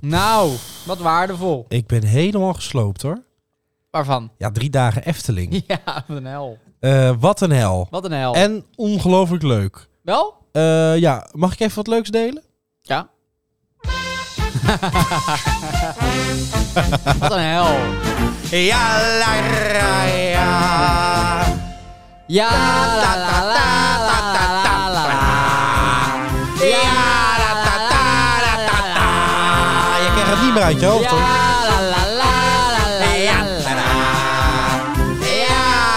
Nou, Wat waardevol. Ik ben helemaal gesloopt hoor. Waarvan? Ja, drie dagen Efteling. Ja, wat een hel. Eh, wat een hel. Wat een hel. En ongelooflijk leuk. Wel? Eh, ja, mag ik even wat leuks delen? Ja. wat een hel. Ja, la, Ja, la, la, la, la, la, la, la, la. Ja, la, la, la, la, la, la. Je krijgt het niet meer uit je hoofd hoor. Ja, la, la, la, la, la, la, la. Ja,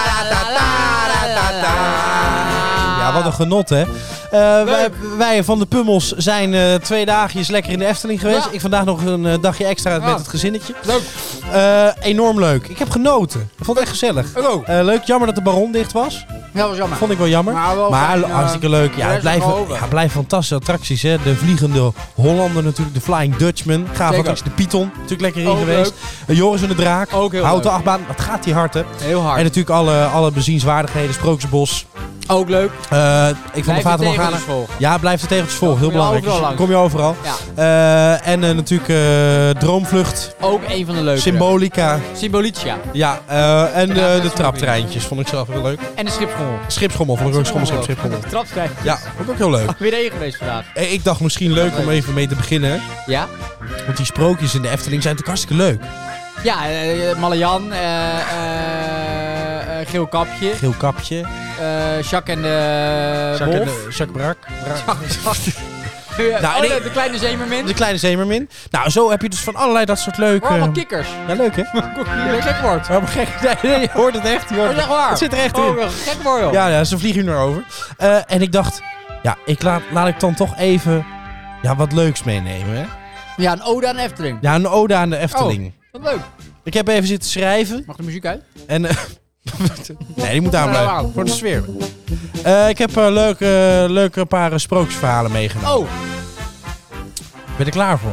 la, la, la, la, la, la. Ja, wat een genot, hè? Eh, wij, wij van de Pummels zijn eh, twee dagjes lekker in de Efteling geweest. Ja. Ik vandaag nog een eh, dagje extra Ja. met het gezinnetje. Leuk. Eh, enorm leuk. Ik heb genoten. Ik vond het echt gezellig. Hallo. Eh, leuk, jammer dat de baron dicht was. Dat was jammer. Vond ik wel jammer. Maar wel maar fijn, eh, hartstikke leuk. Ja, rest het blijven, nog over. ja, het blijven fantastische attracties. Hè. De Vliegende Hollander natuurlijk. De Flying Dutchman. Gaaf Zeker. attractie. De Python. Natuurlijk lekker in Ook geweest. Eh, Joris en de Draak. Ook heel Houten leuk. achtbaan. Wat gaat die hard, hè? Heel En hard. natuurlijk alle, alle bezienswaardigheden. Sprookjesbos. Ook leuk. Eh, ik vond Blijf de Vater je Morgana... tegeltjes volgen. Ja, blijf de tegeltjes volgen. Heel kom je belangrijk. overal Dus kom je overal. Ja, Eh, en eh, natuurlijk eh, Droomvlucht, ook een van de leuke. Symbolica. Symbolitia. Ja, eh, en Ja, eh, dat is de ook traptreintjes vond ik zelf heel leuk. En de schipschommel. Schipschommel vond ik ook schommel, schip, schipschommel. De trapstijl. Ja, vond ik ook heel leuk. Weer één geweest vandaag. Eh, Ik dacht misschien leuk om even mee te beginnen. Ja? Want die sprookjes in de Efteling zijn natuurlijk hartstikke leuk. Ja, eh, Malayan, eh, eh, eh, Geel Kapje, Geel kapje. eh Jacques en de Jacques en Wolf. de- Jacques Brak. Eh, Nou, oh, nee. de, de kleine zeemermin. De kleine zeemermin. Nou, zo heb je dus van allerlei dat soort Oh, allemaal leuke... kikkers. Ja, leuk hè? Een gek woord. Waarom gek? Nee, nee, je hoort het echt. Je hoort Oh, het zeg waar. Het zit er echt in. Oh, een gek woord, joh. Ja, ja, ze vliegen hier naar over. Eh, en ik dacht, ja, ik laat, laat ik dan toch even ja, wat leuks meenemen. Hè? Ja, een ode aan Efteling. Ja, een ode aan de Efteling. Wat leuk. Ik heb even zitten schrijven Mag de muziek uit? en... eh, nee, die moet aan blijven. Wauw. Voor de sfeer. Eh, ik heb een leuke, leuke paar eh, sprookjesverhalen meegenomen. Oh, Ben je er klaar voor?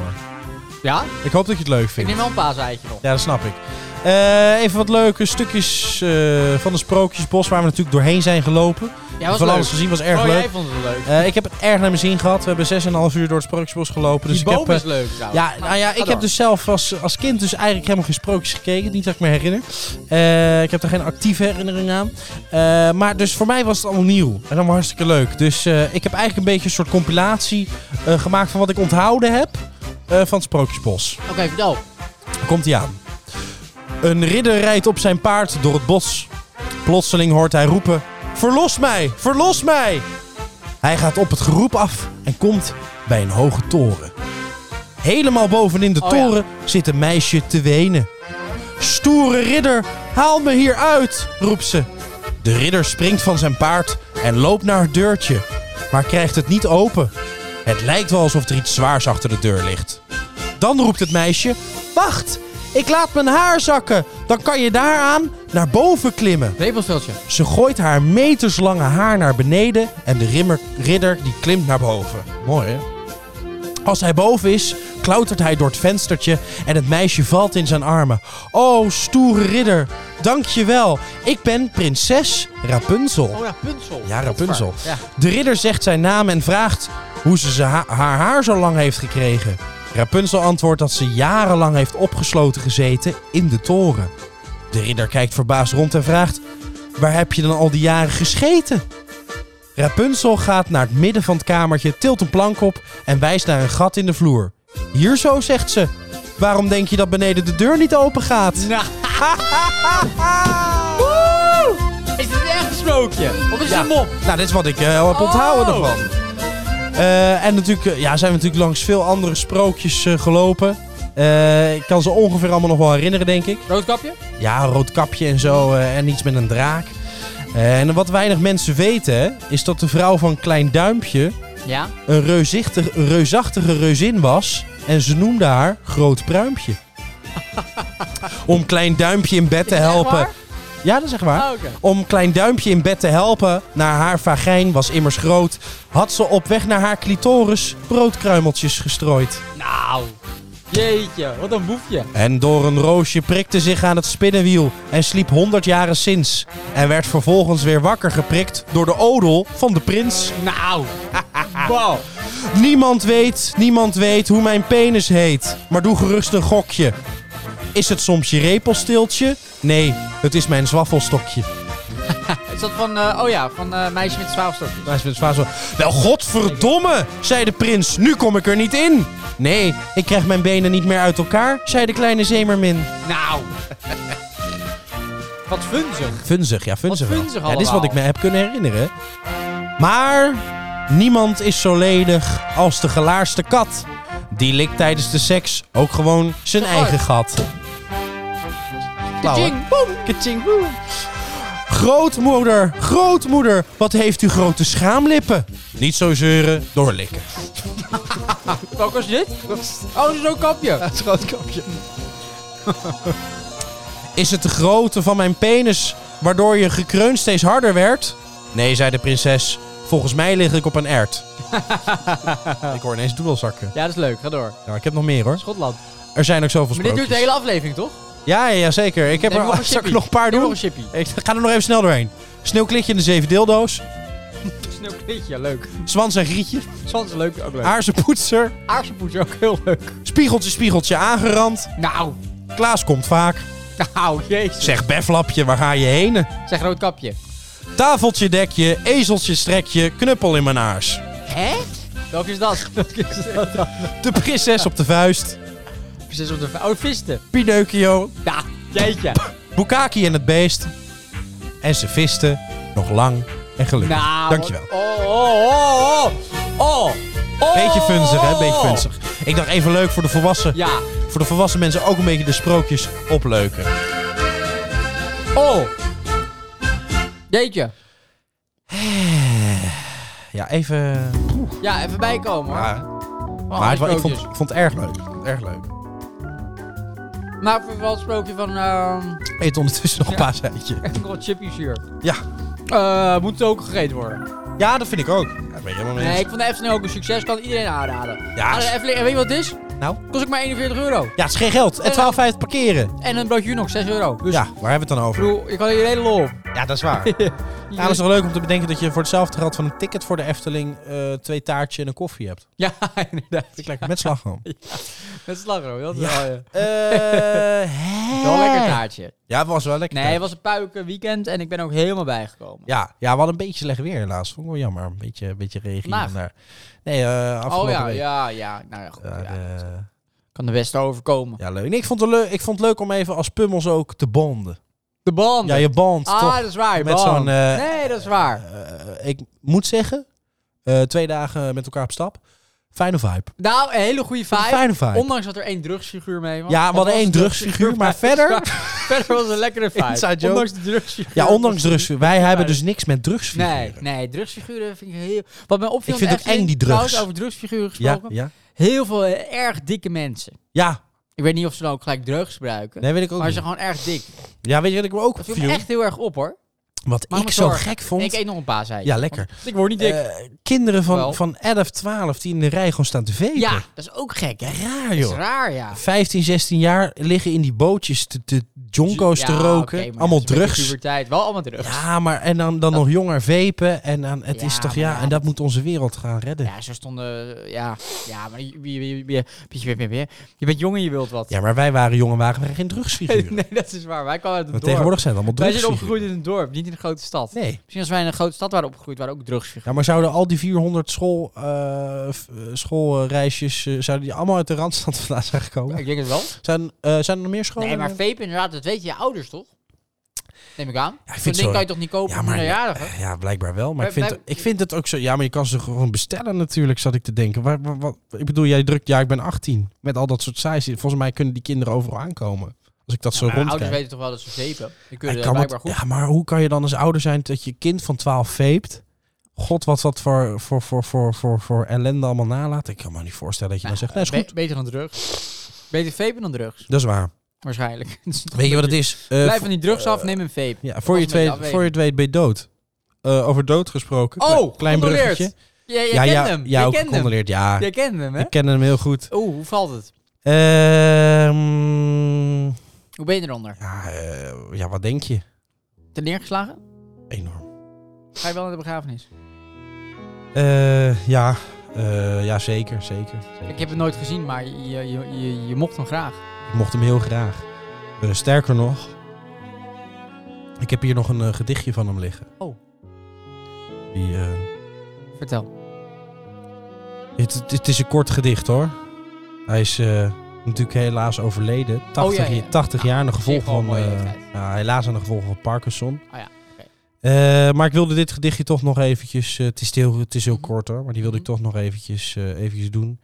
ja? Ik hoop dat je het leuk Ik vindt. neem wel een paaseitje nog. Ja, dat snap ik. Eh, even wat leuke stukjes eh, van de Sprookjesbos waar we natuurlijk doorheen zijn gelopen. Ja, was van leuk. alles gezien was erg oh, leuk. jij vond het leuk. Eh, ik heb het erg naar mijn zin gehad. We hebben 6,5 uur door het Sprookjesbos gelopen. Dus Die ik boom heb, eh, is leuk trouwens. Ja, nou ja, ga ik heb door. dus zelf als, als kind dus eigenlijk helemaal geen sprookjes gekeken. Niet dat ik me herinner. Eh, ik heb er geen actieve herinnering aan. Eh, maar dus voor mij was het allemaal nieuw. En allemaal hartstikke leuk. Dus eh, ik heb eigenlijk een beetje een soort compilatie eh, gemaakt van wat ik onthouden heb eh, van het Sprookjesbos. Oké, vertel. Komt ie aan. Een ridder rijdt op zijn paard door het bos. Plotseling hoort hij roepen. Verlos mij! Verlos mij! Hij gaat op het geroep af en komt bij een hoge toren. Helemaal bovenin de Oh ja. toren zit een meisje te wenen. Stoere ridder, haal me hier uit, roept ze. De ridder springt van zijn paard en loopt naar het deurtje, maar krijgt het niet open. Het lijkt wel alsof er iets zwaars achter de deur ligt. Dan roept het meisje: Wacht, ik laat mijn haar zakken. Dan kan je daaraan naar boven klimmen. Lepelstultje. Ze gooit haar meterslange haar naar beneden en de rimmer, ridder die klimt naar boven. Mooi hè? Als hij boven is, klautert hij door het venstertje en het meisje valt in zijn armen. O, stoere ridder, dank je wel. Ik ben prinses Rapunzel. Oh ja, Punzel. Ja, Rapunzel. Ja. De ridder zegt zijn naam en vraagt hoe ze, ze ha- haar haar zo lang heeft gekregen. Rapunzel antwoordt dat ze jarenlang heeft opgesloten gezeten in de toren. De ridder kijkt verbaasd rond en vraagt: Waar heb je dan al die jaren gescheten? Rapunzel gaat naar het midden van het kamertje, tilt een plank op en wijst naar een gat in de vloer. Hier zo, zegt ze. Waarom denk je dat beneden de deur niet open gaat? Nou, Woe! is dit echt een sprookje? Of is het Ja. een mop? Nou, dit is wat ik eh, heb onthouden Oh. ervan. Eh, en natuurlijk eh, ja, zijn we natuurlijk langs veel andere sprookjes eh, gelopen. Eh, ik kan ze ongeveer allemaal nog wel herinneren, denk ik. Roodkapje? Ja, een rood kapje en zo. eh, en iets met een draak. Eh, en wat weinig mensen weten, hè, is dat de vrouw van Klein Duimpje Ja. een reusachtig, reusachtige reuzin was. En ze noemde haar Groot Pruimpje. Om Klein Duimpje in bed te Is het echt helpen. waar? Ja, dat is echt waar. Ah, oké. Om klein duimpje in bed te helpen naar haar vagijn was immers groot. Had ze op weg naar haar clitoris broodkruimeltjes gestrooid. Nou, jeetje, wat een boefje. En door een roosje prikte zich aan het spinnenwiel en sliep honderd jaren sinds. En werd vervolgens weer wakker geprikt door de odel van de prins. Nou, wow. Niemand weet, niemand weet hoe mijn penis heet. Maar doe gerust een gokje. Is het soms je repelstiltje? Nee, het is mijn zwaffelstokje. Is dat van, eh, oh ja, van eh, Meisje met 12 stokjes? Maar ze- ze- ze- Wel, Nou, godverdomme, zei de prins. Nu kom ik er niet in. Nee, ik krijg mijn benen niet meer uit elkaar, zei de kleine zemermin. Nou. Wat funzig. Funzig, ja, funzig Wat wel. funzig Ja, dit is wat allemaal. ik me heb kunnen herinneren. Maar niemand is zo ledig als de gelaarste kat. Die likt tijdens de seks ook gewoon zijn Zo eigen gat. Klauwen. Kaching, boem, kaching, boem. Grootmoeder, grootmoeder, wat heeft u grote schaamlippen? Niet zo zeuren, doorlikken. Welk was dit? Oh, zo'n kapje. is groot kopje. Is het de grootte van mijn penis waardoor je gekreun steeds harder werd? Nee, zei de prinses. Volgens mij lig ik op een ert. ik hoor ineens doedelzakken. Ja, dat is leuk. Ga door. Nou, ik heb nog meer hoor. Schotland. Er zijn ook zoveel Maar dit sprookjes. duurt de hele aflevering, toch? Ja, ja, ja, zeker. Ik heb Neem er nog een ah, zal ik chippy. er nog een paar Doe nog doen. een chippy. Ik ga er nog even snel doorheen. Sneeuwklitje in de zeven deeldoos. Sneeuwklitje, leuk. Zwans en grietje. Sans leuk, ook leuk. Aarzenpoetser. Aarsenpoets ook heel leuk. Spiegeltje, spiegeltje aangerand. Nou, Klaas komt vaak. nou, jezus. Zeg beflapje, waar ga je heen? Zeg rood kapje. Tafeltje, dekje, ezeltje, strekje, knuppel in mijn aars. Hè? Welke is dat? Welke is dat? De prinses op de vuist. Precies op de... Oh, visten. Pinocchio, Ja, jeetje. Bukaki en het beest. En ze visten nog lang en gelukkig. Nou. Dankjewel. Oh, oh, oh, oh. Oh. oh. Beetje funzig, hè? Beetje funzig. Ik dacht even leuk voor de volwassen. Ja. Voor de volwassen mensen ook een beetje de sprookjes opleuken. Oh. Jeetje. Ja, even... Ja, even bijkomen. hoor. Ja. Ah. Oh, Maar het, wa- ik, vond, sprookjes. ik vond het erg leuk. Erg leuk. Maar voor wel het sprookje van... ehm Eet ondertussen nog een Ja. paaseitje. echt nog wat chippies hier. Ja. Eh, moet het ook gegeten worden? Ja, dat vind ik ook. Ja, dat ben je helemaal mee Nee, eens. ik vond de Efteling ook een succes. Kan iedereen aanraden. Ja, Maar de is- Efteling, en weet je wat het is? Nou? Kost ook maar 41 euro. Ja, het is geen geld. En 12,50 parkeren. En een broodje nog 6 euro. Eh. Dus Ja, waar hebben we het dan ik over? bedoel, je kan hier hele lol op. Ja, dat is waar. Ja, dat is wel leuk om te bedenken dat je voor hetzelfde geld van een ticket voor de Efteling eh, twee taartjes en een koffie hebt. Ja, inderdaad. Vind ik lekker. Met slagroom. Met slagroom, dat is Ja. wel, ja. Eh, hè? Wel een lekker taartje. Ja, het was wel lekker. Nee, taart. het was een puiken weekend en ik ben ook helemaal bijgekomen. Ja, ja, we hadden een beetje slecht weer helaas. Vond ik wel jammer. Een beetje, een beetje regen hier Vandaag? en daar. Nee, eh afgelopen oh ja, week. ja, ja. Nou ja, goed. Ja, ja. de- Kan de Westen overkomen. ja, leuk. Nee, ik, vond het leuk. ik vond het leuk om even als pummels ook te bonden. De band. Ja, je bond ah, toch. dat is waar. Met Met zo'n, eh, nee, dat is waar. Eh, ik moet zeggen, eh, twee dagen met elkaar op stap. Fijne vibe. Nou, een hele goede vibe. Fijne vibe. Ondanks dat er één drugsfiguur mee was. Ja, we Want hadden was één de drugsfiguur, maar verder- verder was het een lekkere vibe. Inside joke. Ondanks de drugsfiguur. Ja, ondanks was het- drugs. Wij hebben dus niks met drugsfiguren. Nee, nee, drugsfiguren vind ik heel... Wat mij opviel... Ik vind op de het ook eng, die Efteling, drugs. trouwens, over drugsfiguren Ja, gesproken. ja. Heel veel eh, erg dikke mensen. Ja, Ik weet niet of ze dan ook gelijk drugs gebruiken. nee, weet ik ook maar ze niet. zijn gewoon erg dik. Ja, weet je wat ik me ook Dat viel me viel? echt heel erg op, hoor. Wat Maak ik me zo zorgen. gek vond. Ik eet nog een paaseitje. Ja, lekker. Want Ik word niet dik. eh, kinderen van, Wel. van 11, 12 die in de rij gewoon staan te veten. ja, dat is ook gek, hè? Raar, Dat is joh. raar, ja. 15, 16 jaar liggen in die bootjes te, te jonko's te Ja, roken. oké, maar allemaal dat is een beetje drugs. Puberteit. Wel allemaal drugs. Ja, maar en dan, dan nog jonger vepen. En dan, het Ja, is toch maar ja, ja, en dat dat- moet onze wereld gaan redden. Ja, Ja, zo stonden... eh, Ja, ja maar je, je, je, je, je, je, je, je- je bent jong en je wilt wat. maar wij waren jong en waren wij geen drugsfiguren. nee, dat is waar. Wij kwamen uit het dorp. Want tegenwoordig zijn het allemaal Wij zijn drugsfiguren. opgegroeid in een dorp, niet in een grote stad. Nee. Misschien als wij in een grote stad waren opgegroeid, waren ook drugsfiguren. Ja, maar zouden al die 400 school, eh, f- eh, schoolreisjes, eh, zouden die allemaal uit de Randstad vandaan zijn gekomen? Ik denk het wel. Zijn, eh, zijn er nog meer scholen? Nee, maar vape inderdaad, dat weten je ouders toch? Neem ik aan. Ja, ik vind Zo'n het zo- ding kan je toch niet kopen Ja, voor maar- minderjarigen? Ja, blijkbaar wel. Maar ik Wij- vind, ik vind het ook zo... Ja, maar je kan ze gewoon bestellen natuurlijk, zat ik te denken. Waar, waar- wat, ik bedoel, jij drukt... Ja, ik ben 18. Met al dat soort saais. Volgens mij kunnen die kinderen overal aankomen. Als ik dat zo Maar ouders rondkijk. weten toch wel dat ze vapen? Die kunnen Ja, dat kan het- blijkbaar goed. ja, maar hoe kan je dan als ouder zijn dat je kind van 12 veept? God, wat dat voor, voor, voor, voor, voor, voor ellende allemaal nalaat. Ik kan me niet voorstellen dat je dan zegt, nee, is Be- goed. beter dan drugs. Beter vapen dan drugs, Dat is waar. waarschijnlijk. Dat is toch Weet je wat een het is? Eh, Blijf vo- van die drugs af, neem een vape. ja, voor, je Pas met twee, je afwegen. voor je het weet ben je dood. Eh, over dood gesproken. Oh, Kle- klein condoleert. bruggetje. Ja, jij ja, kent ja, hem. ja, jij ook kent hem. gecondoleerd. Ja, Jij kent hem, hè? ik ken hem heel goed. Oeh, hoe valt het? Ehm, Hoe ben je eronder? ja, eh, ja, wat denk je? Ten neergeslagen? Enorm. Ga je wel naar de begrafenis? Eh, ja, Eh, ja, zeker, zeker. zeker. Ik heb het nooit gezien, maar je, je, je, je mocht hem graag. Ik mocht hem heel graag. Eh, sterker nog, ik heb hier nog een eh, gedichtje van hem liggen. Oh. Die, eh, Vertel. het, het- het is een kort gedicht hoor. Hij is eh, natuurlijk helaas overleden. 80, Oh, ja, ja. je- 80 jaar aan de gevolgen gewoon van. mooie eh, leeftijd. ja, helaas aan de gevolgen van Parkinson. Oh ja, oké. Eh, maar ik wilde dit gedichtje toch nog eventjes. eh, het, is heel, het is heel Mhm. kort hoor, maar die wilde ik Mhm. toch nog eventjes, eh, eventjes doen.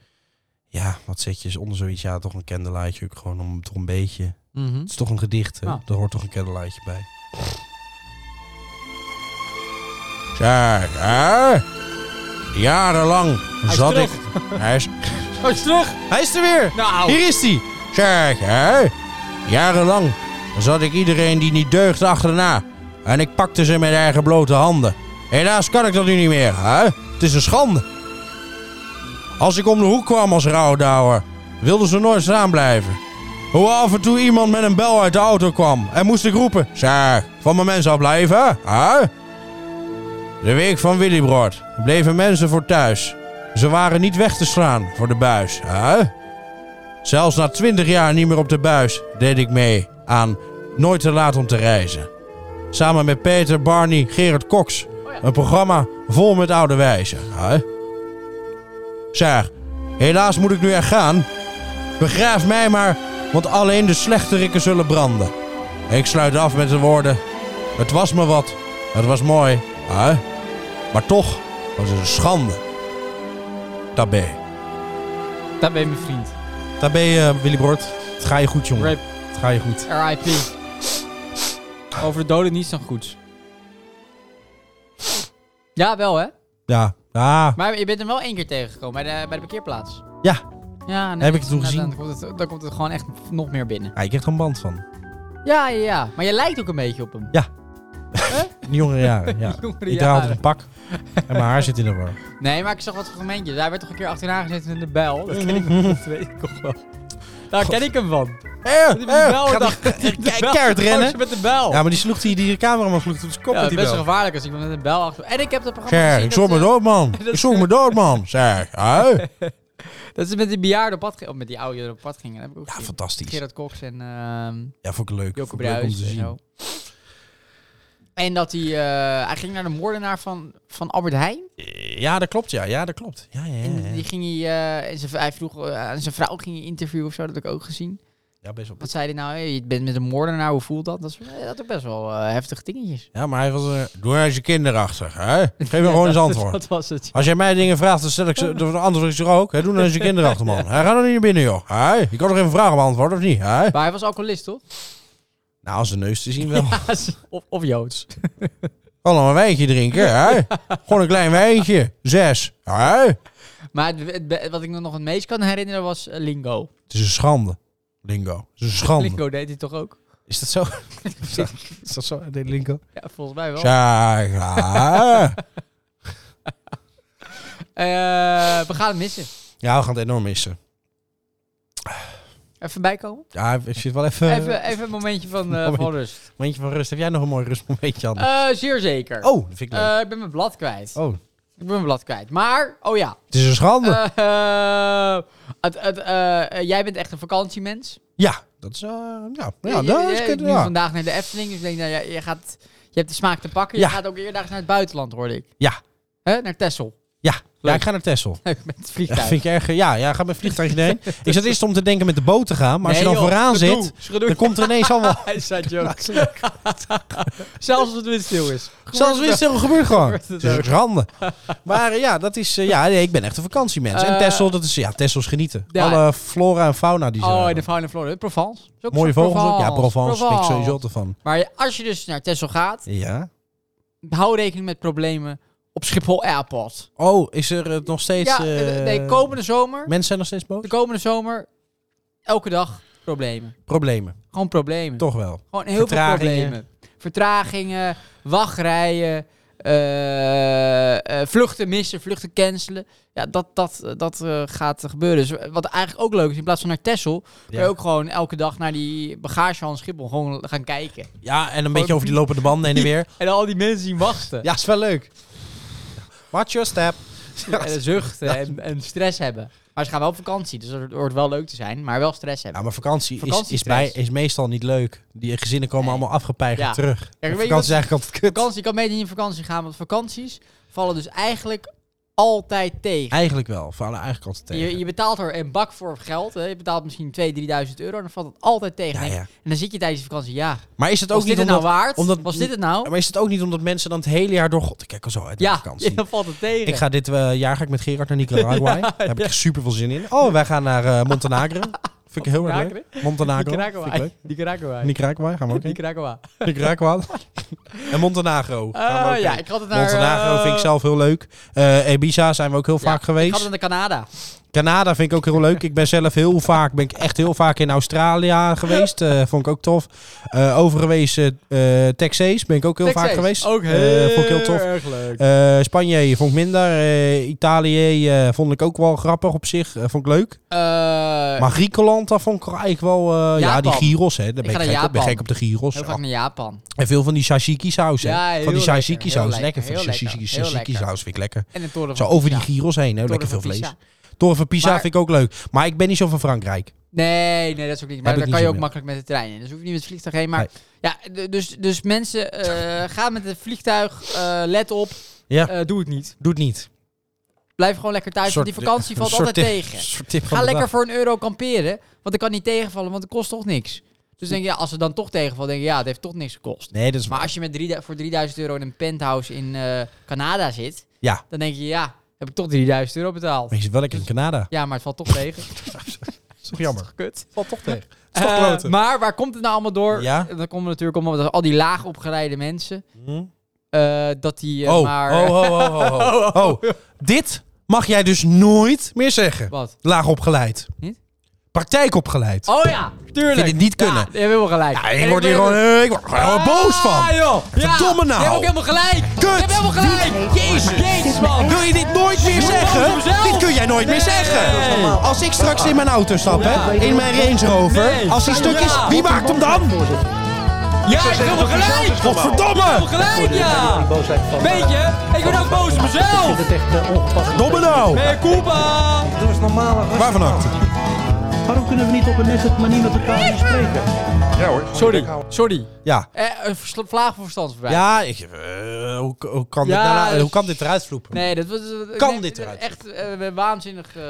Ja, wat zet je onder zoiets? Ja, toch een candlelightje. ook Gewoon om toch een beetje. Het is toch een gedicht, hè? Ah. Daar hoort toch een candlelightje bij. Zeg, hè? Jarenlang is zat terug. ik... Hij is... Oh, is terug! Hij is er weer! Nou! Hier is hij! Zeg, hè? Jarenlang zat ik iedereen die niet deugde achterna. En ik pakte ze met eigen blote handen. Helaas kan ik dat nu niet meer, hè? Het is een schande. Als ik om de hoek kwam als rouwdouwer, wilden ze nooit staan blijven. Hoe af en toe iemand met een bel uit de auto kwam en moest ik roepen... Zeg, van mijn mens afblijven, hè? De week van Willybrood bleven mensen voor thuis. Ze waren niet weg te slaan voor de buis, hè? Zelfs na 20 jaar niet meer op de buis deed ik mee aan Nooit te laat om te reizen. Samen met Peter, Barney, Gerard Cox. Een programma vol met oude wijzen. Hè? Zeg, helaas moet ik nu echt gaan. Begraaf mij maar, want alleen de slechterikken zullen branden. Ik sluit af met de woorden. Het was me wat, het was mooi, hè? maar toch was het een schande. Tabé. Daar ben je mijn vriend. Tabé, eh Willy Bord. Het ga je goed, jongen. Rip, Het ga je goed. RIP. Over de doden niets dan goeds. Ja, wel hè? Ja. Ah. Ja. Maar je bent hem wel één keer tegengekomen bij de, bij de parkeerplaats. Ja. Ja, Heb ik het toen nou, gezien? Dan komt het, dan komt het gewoon echt nog meer binnen. ja. Ik krijg er een band van. Ja, ja, ja. Maar je lijkt ook een beetje op hem. In de jongere jaren, ja. Jongere Ik draag altijd jaren. een pak. En mijn haar zit in de war. Nee, maar ik zag wat fragmentjes. Hij werd toch een keer achterna gezet in de bel. Dat ken ik nog, dat weet ik nog wel. Daar ken ik hem van. Eh, Dat hij met die bel gaat dacht- die- die bel- keihard rennen. met de bel. Ja, maar die sloeg die, die cameraman sloeg op zijn kop Ja, met die best wel bel. gevaarlijk als ik met een bel achter... En ik heb dat programma Zeg, gezien ik dat eh, zoek me ze- dood, man. dat Ik is- zoek me dood, man. Zeg, eh. ui. Dat ze met die bejaarden op pad gingen. Of met die ouderen op pad gingen. Dat heb ik ook Ja, gezien. fantastisch. Gerard Cox en ehm Ja, vond ik leuk. Joke Vond ik leuk om Bruijs te en zien. zo. En dat hij... eh, hij ging naar de moordenaar van, van Albert Heijn. Ja, dat klopt, ja. Ja, dat klopt. Ja, ja, En ja, die ja. ging hij... eh, en zijn, hij vroeg eh, aan zijn vrouw ging hij interviewen of zo. Dat heb ik ook gezien. Ja, best wel. Wat zei hij nou? Hey, je bent met een moordenaar. Hoe voelt dat? Dat is eh, dat is best wel eh, heftige dingetjes. Ja, maar hij was... eh, Doe eens je kinderachtig, hè. Geef me gewoon eens Dat- antwoord. Dat was het. Als jij mij dingen vraagt, dan stel ik ze, dan antwoord ik ze ook. Hè? Doe nou eens je kinderen achter, man. Hij gaat er niet naar binnen, joh. Hè? Je kan toch even vragen beantwoorden, of niet? Hè? Maar hij was alcoholist, toch? Nou, als de neus te zien wel. of, of Joods. Kan nog een wijntje drinken, hè? Gewoon een klein wijntje. Zes. Hè? Maar het, het be- wat ik me nog het meest kan herinneren was eh, Lingo. Het is een schande. Lingo. Het is een schande. Lingo deed hij toch ook? Is dat zo? Is dat zo? De lingo? Ja, volgens mij wel. Zeg, hè? Eh, we gaan het missen. Ja, we gaan het enorm missen. Even bijkomen. Ja, ik zit wel even... Even, even een momentje van, eh, Moment. van rust. Eh, Momentje van rust. Heb jij nog een mooi rustmomentje, Anne? Eh, zeer zeker. oh, dat vind ik leuk. Eh, ik ben mijn blad kwijt. oh. Ik ben mijn blad kwijt. Maar, oh ja. Het is een schande. Eh, het, het, eh, eh, jij bent echt een vakantiemens. ja, dat is... eh, ja, ja, Je- dat je- is... je- kun- nu ja. vandaag naar de Efteling. Dus ik denk, nou, je, je, gaat, je hebt de smaak te pakken. Ja. Je gaat ook eerdaags naar het buitenland, hoorde ik. Ja. Hè? Naar Texel. Ja, ja Leuk. ik ga naar Texel. Met het Ja, vliegtuig. vind ik erg. eh, Ja, ja, ga met vliegtuigje heen. Ik zat eerst om te denken met de boot te gaan, maar als je dan vooraan zit, dan komt er ineens allemaal. Hij zei joke. Zelfs als het windstil is. Zelfs wist het gebeurt gewoon. Gebeurt het Het is ook. randen. Maar eh, ja, dat is. eh, ja, nee, ik ben echt een vakantiemens. en Eh, Texel, dat is. Ja, Texel is genieten. ja. Alle flora en fauna die zijn. Oh, en de fauna en flora. hè? Provence. Is ook Mooie zo- vogels ook. Ja, Provence. vind Ik sowieso altijd van. Maar je- als je dus naar Texel gaat, Ja. hou rekening met problemen op Schiphol Airport. Oh, is er het nog steeds. ja, eh, eh, nee, komende zomer. Mensen zijn nog steeds boos? De komende zomer, elke dag problemen. Problemen. Gewoon problemen. Toch wel. Gewoon heel veel Vertragingen. problemen. Vertragingen, wachtrijen, eh, eh, vluchten missen, vluchten cancelen. Ja, dat, dat, dat eh, gaat gebeuren. Dus wat eigenlijk ook leuk is, in plaats van naar Texel, kun je Ja. ook gewoon elke dag naar die bagage van Schiphol gewoon gaan kijken. Ja, en een beetje over die lopende banden heen en weer. En al die mensen zien wachten. Ja, is wel leuk. Watch your step. en zuchten en, en stress hebben. Maar ze gaan wel op vakantie, dus het wordt wel leuk te zijn, maar wel stress hebben. Ja, maar vakantie, is, is, bij, Vakantiestress. is meestal niet leuk. Die gezinnen komen Nee. allemaal afgepeigerd Ja. terug. Kijk, weet En je Nou, vakantie is eigenlijk altijd kut. Vakantie, ik kan mee niet in vakantie gaan, want vakanties vallen dus eigenlijk altijd tegen. Eigenlijk wel, vallen eigenlijk altijd tegen. Je, je betaalt er een bak voor geld, hè. je betaalt misschien 2.000, 3.000 euro en dan valt het altijd tegen. ja, ja. En dan zit je tijdens de vakantie, ja, Maar is het ook was dit niet het omdat... nou waard? omdat- was dit het nou? Maar is het ook niet omdat mensen dan het hele jaar door... God, ik kijk al zo uit naar Ja, vakantie. dan valt het tegen. Ik ga dit eh, jaar ga ik met Gerard naar Nicaragua. Daar heb ik echt super veel zin in. Oh, wij gaan naar eh Montenegro. Vind ik heel erg leuk. Montenegro. Nicaragua. Vind ik leuk. Nicaragua. Nicaragua, gaan we ook heen. Nicaragua. Nicaragua. en Montenegro. gaan we ook Eh, ja, heen. ik had het naar... Montenegro eh, vind ik zelf heel leuk. Eh Ibiza zijn we ook heel ja, vaak Ik geweest. had het naar Canada. Canada vind ik ook heel leuk. Ik ben zelf heel vaak, ben ik echt heel vaak in Australië geweest. Eh, vond ik ook tof. Eh overgewezen eh Texas ben ik ook heel Texas, vaak geweest. Ook Eh, heel, vond ik heel tof. erg leuk. Eh, Spanje vond ik minder. Eh, Italië eh, vond ik ook wel grappig op zich. Eh, vond ik leuk. Eh, Maar Griekenland, daar vond ik eigenlijk wel... eh, ja, Japan. die gyros, hè. Daar ben ga ik, naar gek op. ben Japan. gek op de gyros. heel Ja. vaak naar Japan. En veel van die shashiki saus, hè. Ja, heel van die lekker, shashiki saus. heel Lekker, lekker, van die heel shashiki, lekker, heel shashiki lekker. saus vind ik lekker. En de toren Zo van over die Pisa. gyros heen, hè. Toren Lekker van veel vlees. Pisa. Toren van Pisa Maar- vind ik ook leuk. Maar ik ben niet zo van Frankrijk. Nee, nee, dat is ook niet. Maar Heb ik daar niet kan je zo ook mee. makkelijk met de trein in. Dus hoef je niet met het vliegtuig heen. Maar ja, d- dus, dus mensen, eh ga met het vliegtuig. eh, let op. Ja. Eh, doe het niet. Doet niet. Blijf gewoon lekker thuis, want die vakantie valt altijd tegen. Ga lekker voor een euro kamperen, want dat kan niet tegenvallen, want het kost toch niks. Dus denk je, ja, als het dan toch tegenvalt, denk je, ja, het heeft toch niks gekost. Nee, dat is Maar als je met drie, voor 3000 euro in een penthouse in eh, Canada zit, Ja. dan denk je, ja, heb ik toch 3000 euro betaald. Maar je zit wel lekker in Canada. Ja, maar het valt toch tegen. Dat is toch jammer. Kut. Valt toch tegen. Het is toch Eh, kloten. maar waar komt het nou allemaal door? Ja. Dat komt natuurlijk omdat al die laag opgeleide mensen, Hm? eh, dat die eh, oh, maar... oh, oh, oh, oh, oh. Oh, Dit mag jij dus nooit meer zeggen. Wat? Laag opgeleid. Niet? Praktijk opgeleid. Oh ja, tuurlijk. Vind het niet Ja, kunnen. je hebt helemaal gelijk. Ja, En ik word ben- hier gewoon, eh, ik word er gewoon boos Ah, van. joh. Ja, Verdomme nou. Je hebt ook helemaal gelijk. Je hebt helemaal gelijk. Jezus, jezus, man. Wil je dit nooit meer Moet zeggen? boos op mezelf. Dit kun jij nooit meer Nee. zeggen. Als ik straks in mijn auto stap, hè, Ja. in mijn Range Rover, Nee. als hij stuk is, Ja. wie maakt hem dan? Ja, ik heb helemaal gelijk. Godverdomme! Gelijk, ja. Weet je, ik ben ook boos op mezelf. Domme nou! Hey, Koepa. Doe eens normaal. rustig. Waarvan achter? Waarom kunnen we niet op een nette manier met elkaar gaan spreken? Sorry, sorry. Ja. Eh, een versla- vlaag voor verstand voorbij. Ja, ik, eh, hoe, hoe, kan dit Ja, nou- hoe dus- kan dit eruit vloepen? Nee, dat was... eh, Kan nee, dit eruit? Echt eh, waanzinnig... eh,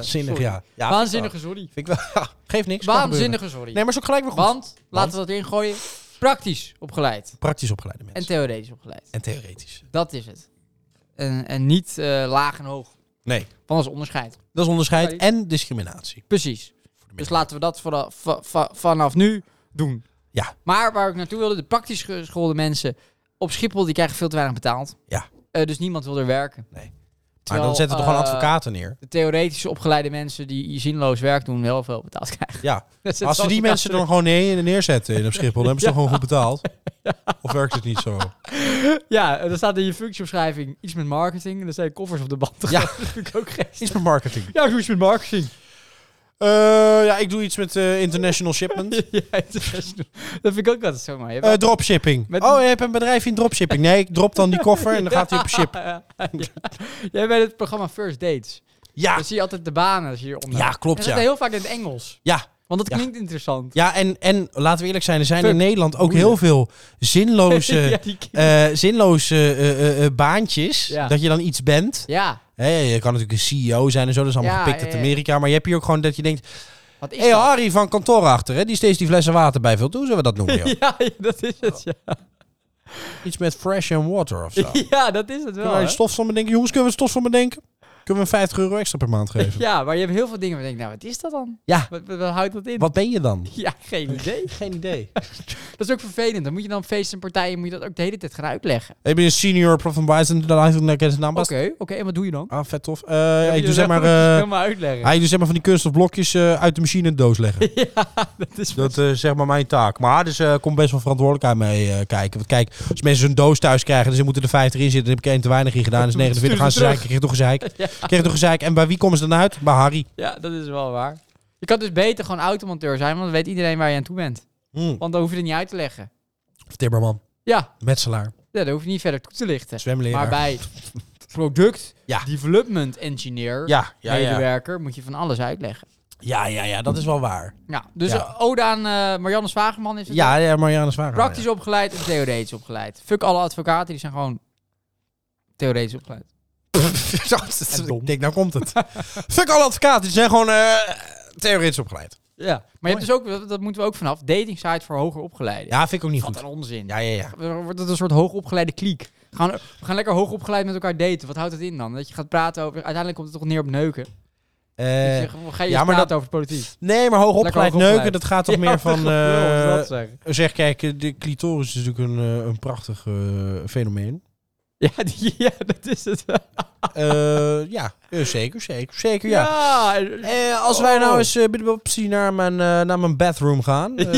Zinnig, sorry. ja. ja Waanzinnige sorry. Vind ik wel. Geeft niks. kan gebeuren. Waanzinnige sorry. Nee, maar is ook gelijk weer goed. Want, laten we dat ingooien, praktisch opgeleid. Praktisch opgeleide mensen. En En, theoretisch opgeleid. theoretisch. Dat is het. En, en niet eh, laag en hoog. Nee. Van ons onderscheid. Dat is onderscheid Ja, die- en discriminatie. Precies. Dus laten we dat vanaf, va- va- vanaf nu doen. Ja. Maar waar ik naartoe wilde, de praktisch geschoolde mensen op Schiphol, die krijgen veel te weinig betaald. Ja. Eh, dus niemand wil er werken. Nee. maar Terwijl, dan zetten er gewoon eh, advocaten neer. De theoretisch opgeleide mensen die zinloos werk doen, wel veel betaald krijgen. Ja. Dat zit Als ze wel die elkaar mensen dan gewoon neer, neerzetten in op Schiphol, dan hebben ze toch gewoon goed betaald? Of werkt het niet zo? terug. Ja, eh, er staat in je functieomschrijving iets met marketing. En dan zijn koffers op de band. Ja. dat vind ik ook geest. Iets met marketing. Ja, ik doe iets met marketing. Eh, ja, ik doe iets met eh, international shipment. ja, het is- dat vind ik ook altijd zo mooi. Je hebt Eh, dropshipping. Met- Oh, je hebt een bedrijf in dropshipping. Nee, ik drop dan die koffer en dan gaat hij op ship. Ja. Jij bent het programma First Dates. Ja, Dan zie je altijd de banen als je hieronder. ja En klopt dat is ja. heel vaak in het Engels. Ja, Want dat Ja. klinkt interessant. ja en, en laten we eerlijk zijn, er zijn in Fuck. Nederland ook Boeien. heel veel zinloze... ja, die ki- eh, zinloze eh, eh, eh, baantjes. Ja. Dat je dan iets bent. ja, Hè, je kan natuurlijk een CEO zijn en zo. Dat is allemaal Ja, gepikt ja, uit ja. Amerika. Maar je hebt hier ook gewoon dat je denkt... wat is Hé, hey, oh, dat? Harry van kantoor achter, hè, die steeds die flessen water bijvult. Hoe zullen we dat noemen? joh? Ja, ja, dat is het. Ja, Iets met fresh and water of Oh, zo. Kunnen ja dat is het wel. wij een hè? stof van bedenken? Jongens, kunnen we een stof van bedenken? Kunnen we 50 euro extra per maand geven? Ja, maar je hebt heel veel dingen waar je denkt, nou, wat is dat dan? Ja. Wat, wat- wat houdt dat in? Wat ben je dan? Ja, geen idee. Geen idee. Dat is ook vervelend. Dan moet je dan feesten en partijen, moet je dat ook de hele tijd gaan uitleggen. Ik ben een senior prof van Bison. Dan heeft hij een naam. Oké, oké, en wat doe je dan? Ah, vet tof. Eh, Ja, ik je doe zeg zegt maar... dat je het eh kan maar uitleggen. hij doet zeg maar van die kunststofblokjes eh, uit de machine in de doos leggen. dat is Dat eh, is zeg maar mijn taak. Maar dus eh, komt best wel verantwoordelijkheid mee eh, kijken. Want kijk, als mensen zo'n doos thuis krijgen, dus ze moeten er 50 in zitten. Dan heb ik één te weinig in gedaan. Dus 49 gaan ze Stuur ze zeiken. Kreeg toch gezeik. Kreeg toch gezeik. En bij wie komen ze dan uit? Bij Harry. Ja, dat is wel waar. Je kan dus beter gewoon automonteur zijn, want dan weet iedereen waar je aan toe bent. Hm. Want dan hoef je het niet uit te leggen. Of Timmerman. Ja, Metselaar. ja dan hoef je niet verder toe te lichten. Zwemleraar. Maar bij product Ja. development engineer, Ja, ja, ja. medewerker, moet je van alles uitleggen. Ja, ja, ja, dat is wel waar. Ja, dus Ja. eh, Ode aan eh, Marianne Zwageman is het. Ja, ja, Marianne Zwager. Praktisch opgeleid en theoretisch opgeleid. Fuck alle advocaten, die zijn gewoon theoretisch opgeleid. ik denk, nou komt het. Fuck alle advocaten, die zijn gewoon eh, theoretisch opgeleid. Ja. Maar je hebt dus ook, dat, dat moeten we ook vanaf, dating site voor hoger opgeleiden. Ja, vind ik ook niet Wat goed. een onzin. Ja, ja, ja. Dan Wordt het een soort hoogopgeleide kliek. We gaan, we gaan lekker hoogopgeleid met elkaar daten. Wat houdt het in dan? Dat je gaat praten over... Uiteindelijk komt het toch neer op neuken. Eh, dus je, ga je ja, eens maar praten over politiek. nee, maar hoogopgeleid hoogopgeleid. neuken, dat gaat toch Ja, meer van... hoe is eh, dat zeggen? zeg, kijk, eh, de clitoris is natuurlijk een, eh, een prachtig eh, fenomeen. Ja, die- ja, dat is het. Eh, ja, eh, zeker, zeker, zeker, ja. en- Eh, als wij nou Oh. eens eh, bij de optie naar mijn, eh, naar mijn bathroom gaan. eh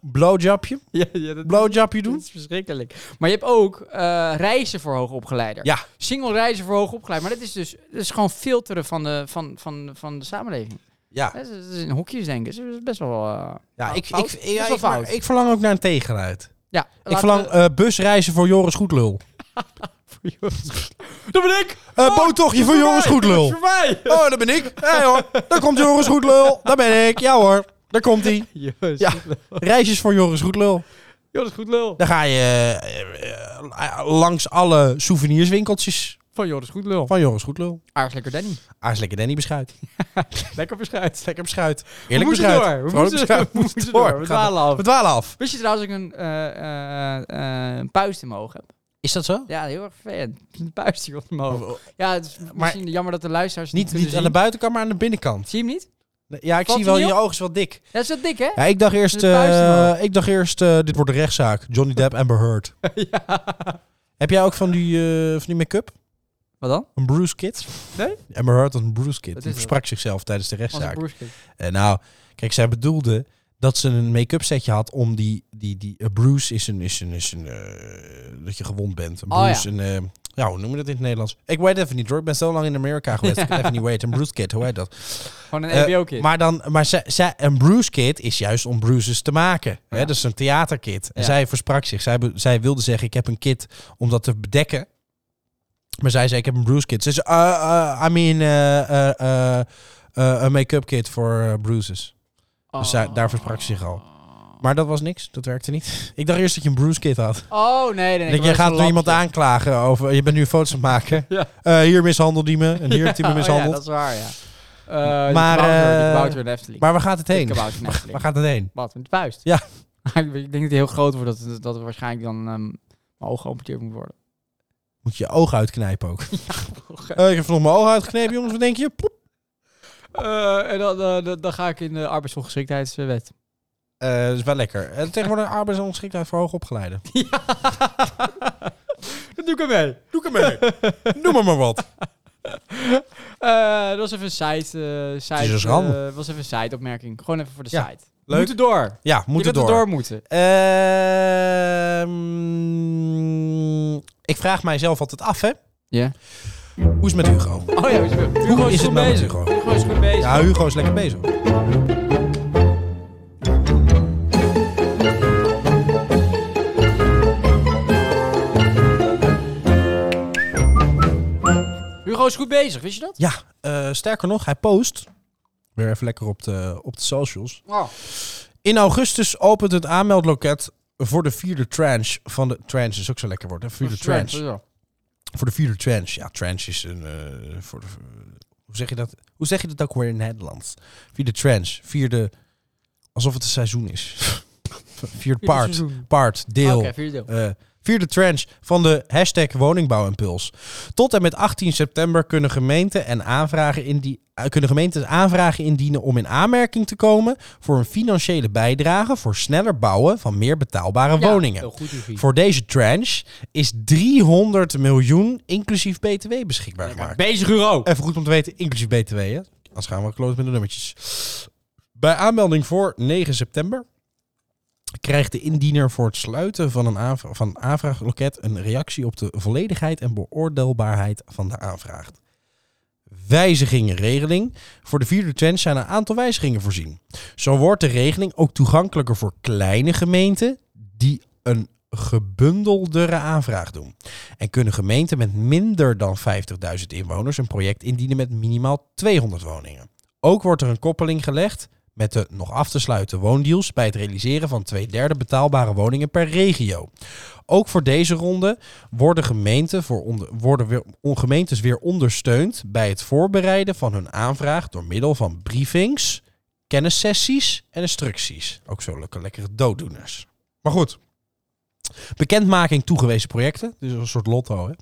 Blowjobje. ja, ja, dat, Blowjobje dat doen. is verschrikkelijk. Maar je hebt ook eh, reizen voor hoogopgeleider. Ja. Single reizen voor hoogopgeleid. Maar dat is dus dat is gewoon filteren van de, van, van, van de samenleving. Ja, Dat is, dat is in hokjes denken. Dat is best wel... eh, ja, nou, ik, fout. ik, Dat ik, is ja, wel ik, maar fout. ik verlang ook naar een tegengeluid. ja, laten Ik we- verlang eh, busreizen voor Joris Goedlul. voor Joris. Dat ben ik! Eh Oh, boottochtje voor Joris Goedlul. Voor mij! Oh, dat ben ik. Ja hoor, daar komt Joris Goedlul. Daar ben ik. Ja hoor, daar komt hij. Joris, Ja. Reisjes voor Joris Goedlul. Joris goed lul. Daar ga je eh, eh, langs alle souvenirswinkeltjes Van Joris goed lul. van Joris Goedlul. Aars lekker Danny. Aars lekker Danny beschuit. Lekker beschrijft. Lekker beschuit. We Eerlijk moeten beschuit. door. We Vrolijk moeten, we moeten door. We gaan dwalen af. We dwalen af. Wist je trouwens dat ik een, eh eh eh, een puist in mijn oog heb? Is dat zo? Ja, heel erg vervelend. Een puist hier op mijn oog. Ja, het is misschien jammer dat de luisteraars het Oh. Niet, niet, niet aan de kunnen buitenkant, maar aan de binnenkant. zien. Zie je hem niet? Ja, ik Valt zie hij wel, niet je op? oog is wel dik. Dat is dat dik, hè? Ja, ik dacht eerst, Dus puist hem eh, ik dacht eerst eh, dit wordt een rechtszaak. Johnny Depp, Amber Heard. Heb jij ook van die, eh, van die make-up? Wat dan? Een Bruce Kid? Nee. Amber Heard was een Bruce Kid. Wat Die is dat? versprak zichzelf tijdens de Als een rechtszaak. broerskind. En nou, kijk, zij bedoelde dat ze een make-up setje had om die... die, die eh, bruise is een... Is een, is een eh, dat je gewond bent. Een Oh, bruise, een... eh, ja, hoe noem je dat in het Nederlands? Ik weet even niet hoor. Ik ben zo lang in Amerika geweest. Ik weet even niet weten. Een Bruce Kid, hoe heet dat? Gewoon een E Eh, EBO-kind. Maar, dan, maar zij, zij, een Bruce Kid is juist om bruises te maken. Hè? Ja. Dat is een theaterkit. En Ja. zij versprak zich. Zij, be- zij wilde zeggen, ik heb een kit om dat te bedekken. Maar zij zei, ik heb een Bruce Kit. Ze zei, eh, eh, I mean, eh, eh, eh, eh, een make-up kit voor eh, bruises. Oh. Dus zij- daar versprak ze zich al. Maar dat was niks. Dat werkte niet. Ik dacht eerst dat je een Bruce Kit had. Oh, nee. nee, nee Denk, je gaat nu iemand aanklagen over, je bent nu foto's aan het maken. Ja. Eh, hier mishandelde hij me. En hier heeft hij me mishandeld. mishandeld. Oh dat is waar, ja. Eh, Maar, Die kabouter, die eh, kabouter in de Efteling. Maar waar gaat het Die heen? kabouter in de Efteling. Waar gaat het heen? Wat, met de puist? Ja. ik denk dat die heel groot wordt, dat, dat er waarschijnlijk dan ehm, mijn oog geamputeerd moet worden. Moet je je ogen uitknijpen ook. Eh, ik heb nog mijn ogen uitgeknepen, jongens. Wat denk je? Ploep. Eh, en dan, eh, dan, dan ga ik in de arbeidsongeschiktheidswet. Eh, dat is wel lekker. Eh, tegenwoordig arbeidsongeschiktheid voor hoogopgeleiden. Ja. dat doe ik ermee. Doe ik ermee. Noem maar maar wat. Eh, dat was even een site. eh site is een schande. eh, was even een site-opmerking. Gewoon even voor de Ja, site. We leuk. moeten door. Ja, Je moet het bent door. er door moeten. Ehm, ik vraag mijzelf altijd af, hè. Ja. Hoe is het met Hugo? Oh ja, Hugo Hoe is, is het goed nou met bezig. Hugo? Hugo is goed bezig. Ja, Hugo is lekker bezig. Hugo is goed bezig, wist je dat? Ja, eh, sterker nog, hij post. Weer even lekker op de, op de socials. Oh. In augustus opent het aanmeldloket voor de vierde tranche van de... Tranche is ook zo lekker woord, hè? Vierde tranche. Voor de vierde tranche. Ja, tranche is een... eh, voor de, hoe, zeg je dat, hoe zeg je dat ook weer in het Nederlands? Vierde tranche. Vierde... Alsof het een seizoen is. vierde part. Part. Oké, Deel. vierde deel. eh, vierde tranche van de hashtag woningbouwimpuls. Tot en met 18 september kunnen, gemeenten en aanvragen indi- eh, kunnen gemeentes aanvragen indienen om in aanmerking te komen voor een financiële bijdrage voor sneller bouwen van meer betaalbare Ja, woningen. heel goed, Hugo. Voor deze tranche is 300 miljoen inclusief BTW beschikbaar Lekker gemaakt. Bezig euro. Even goed om te weten, inclusief BTW. Hè? Anders gaan we kloot met de nummertjes. Bij aanmelding voor 9 september krijgt de indiener voor het sluiten van een, aanvra- van een aanvraagloket een reactie op de volledigheid en beoordeelbaarheid van de aanvraag. Wijzigingenregeling. Voor de vierde tranche zijn een aantal wijzigingen voorzien. Zo wordt de regeling ook toegankelijker voor kleine gemeenten die een gebundeldere aanvraag doen. En kunnen gemeenten met minder dan 50.000 inwoners een project indienen met minimaal 200 woningen. Ook wordt er een koppeling gelegd met de nog af te sluiten woondeals bij het realiseren van twee derde betaalbare woningen per regio. Ook voor deze ronde worden, gemeenten voor onder, worden weer, on- gemeentes weer ondersteund bij het voorbereiden van hun aanvraag door middel van briefings, kennissessies en instructies. Ook zo lekker lekkere dooddoeners. Maar goed. Bekendmaking toegewezen projecten. Dus een soort lotto. Hè?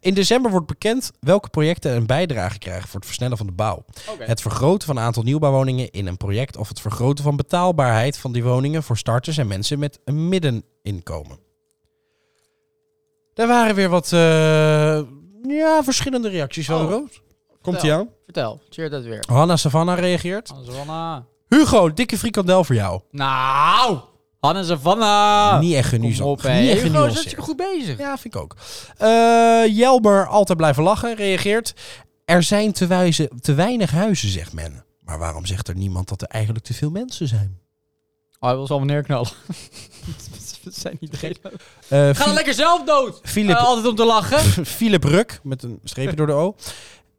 In december wordt bekend welke projecten een bijdrage krijgen voor het versnellen van de bouw. Het vergroten van het aantal nieuwbouwwoningen in een project of het vergroten van betaalbaarheid van die woningen voor starters en mensen met een middeninkomen. Daar waren weer wat eh, ja, verschillende reacties van Oh. Roos. Komt ie aan? Vertel, cheer dat weer. Hanna Savannah reageert. Hanne Savannah. Hugo, dikke frikandel voor jou. Nou, Hanne Savannah. Niet echt eh, Ah, Kom op, hè. genuanceerd. Niet echt Hugo, is genuanceerd. je goed bezig. Ja, vind ik ook. Eh, Jelmer, altijd blijven lachen, reageert. Er zijn te, wijze, te weinig huizen, zegt men. Maar waarom zegt er niemand dat er eigenlijk te veel mensen zijn? Oh, hij wil ze allemaal neerknallen. Dat zijn niet gek. Eh, Ga dan Fi- lekker zelf dood. Philip, Eh, altijd om te lachen. Philip Ruk, met een streepje door de O.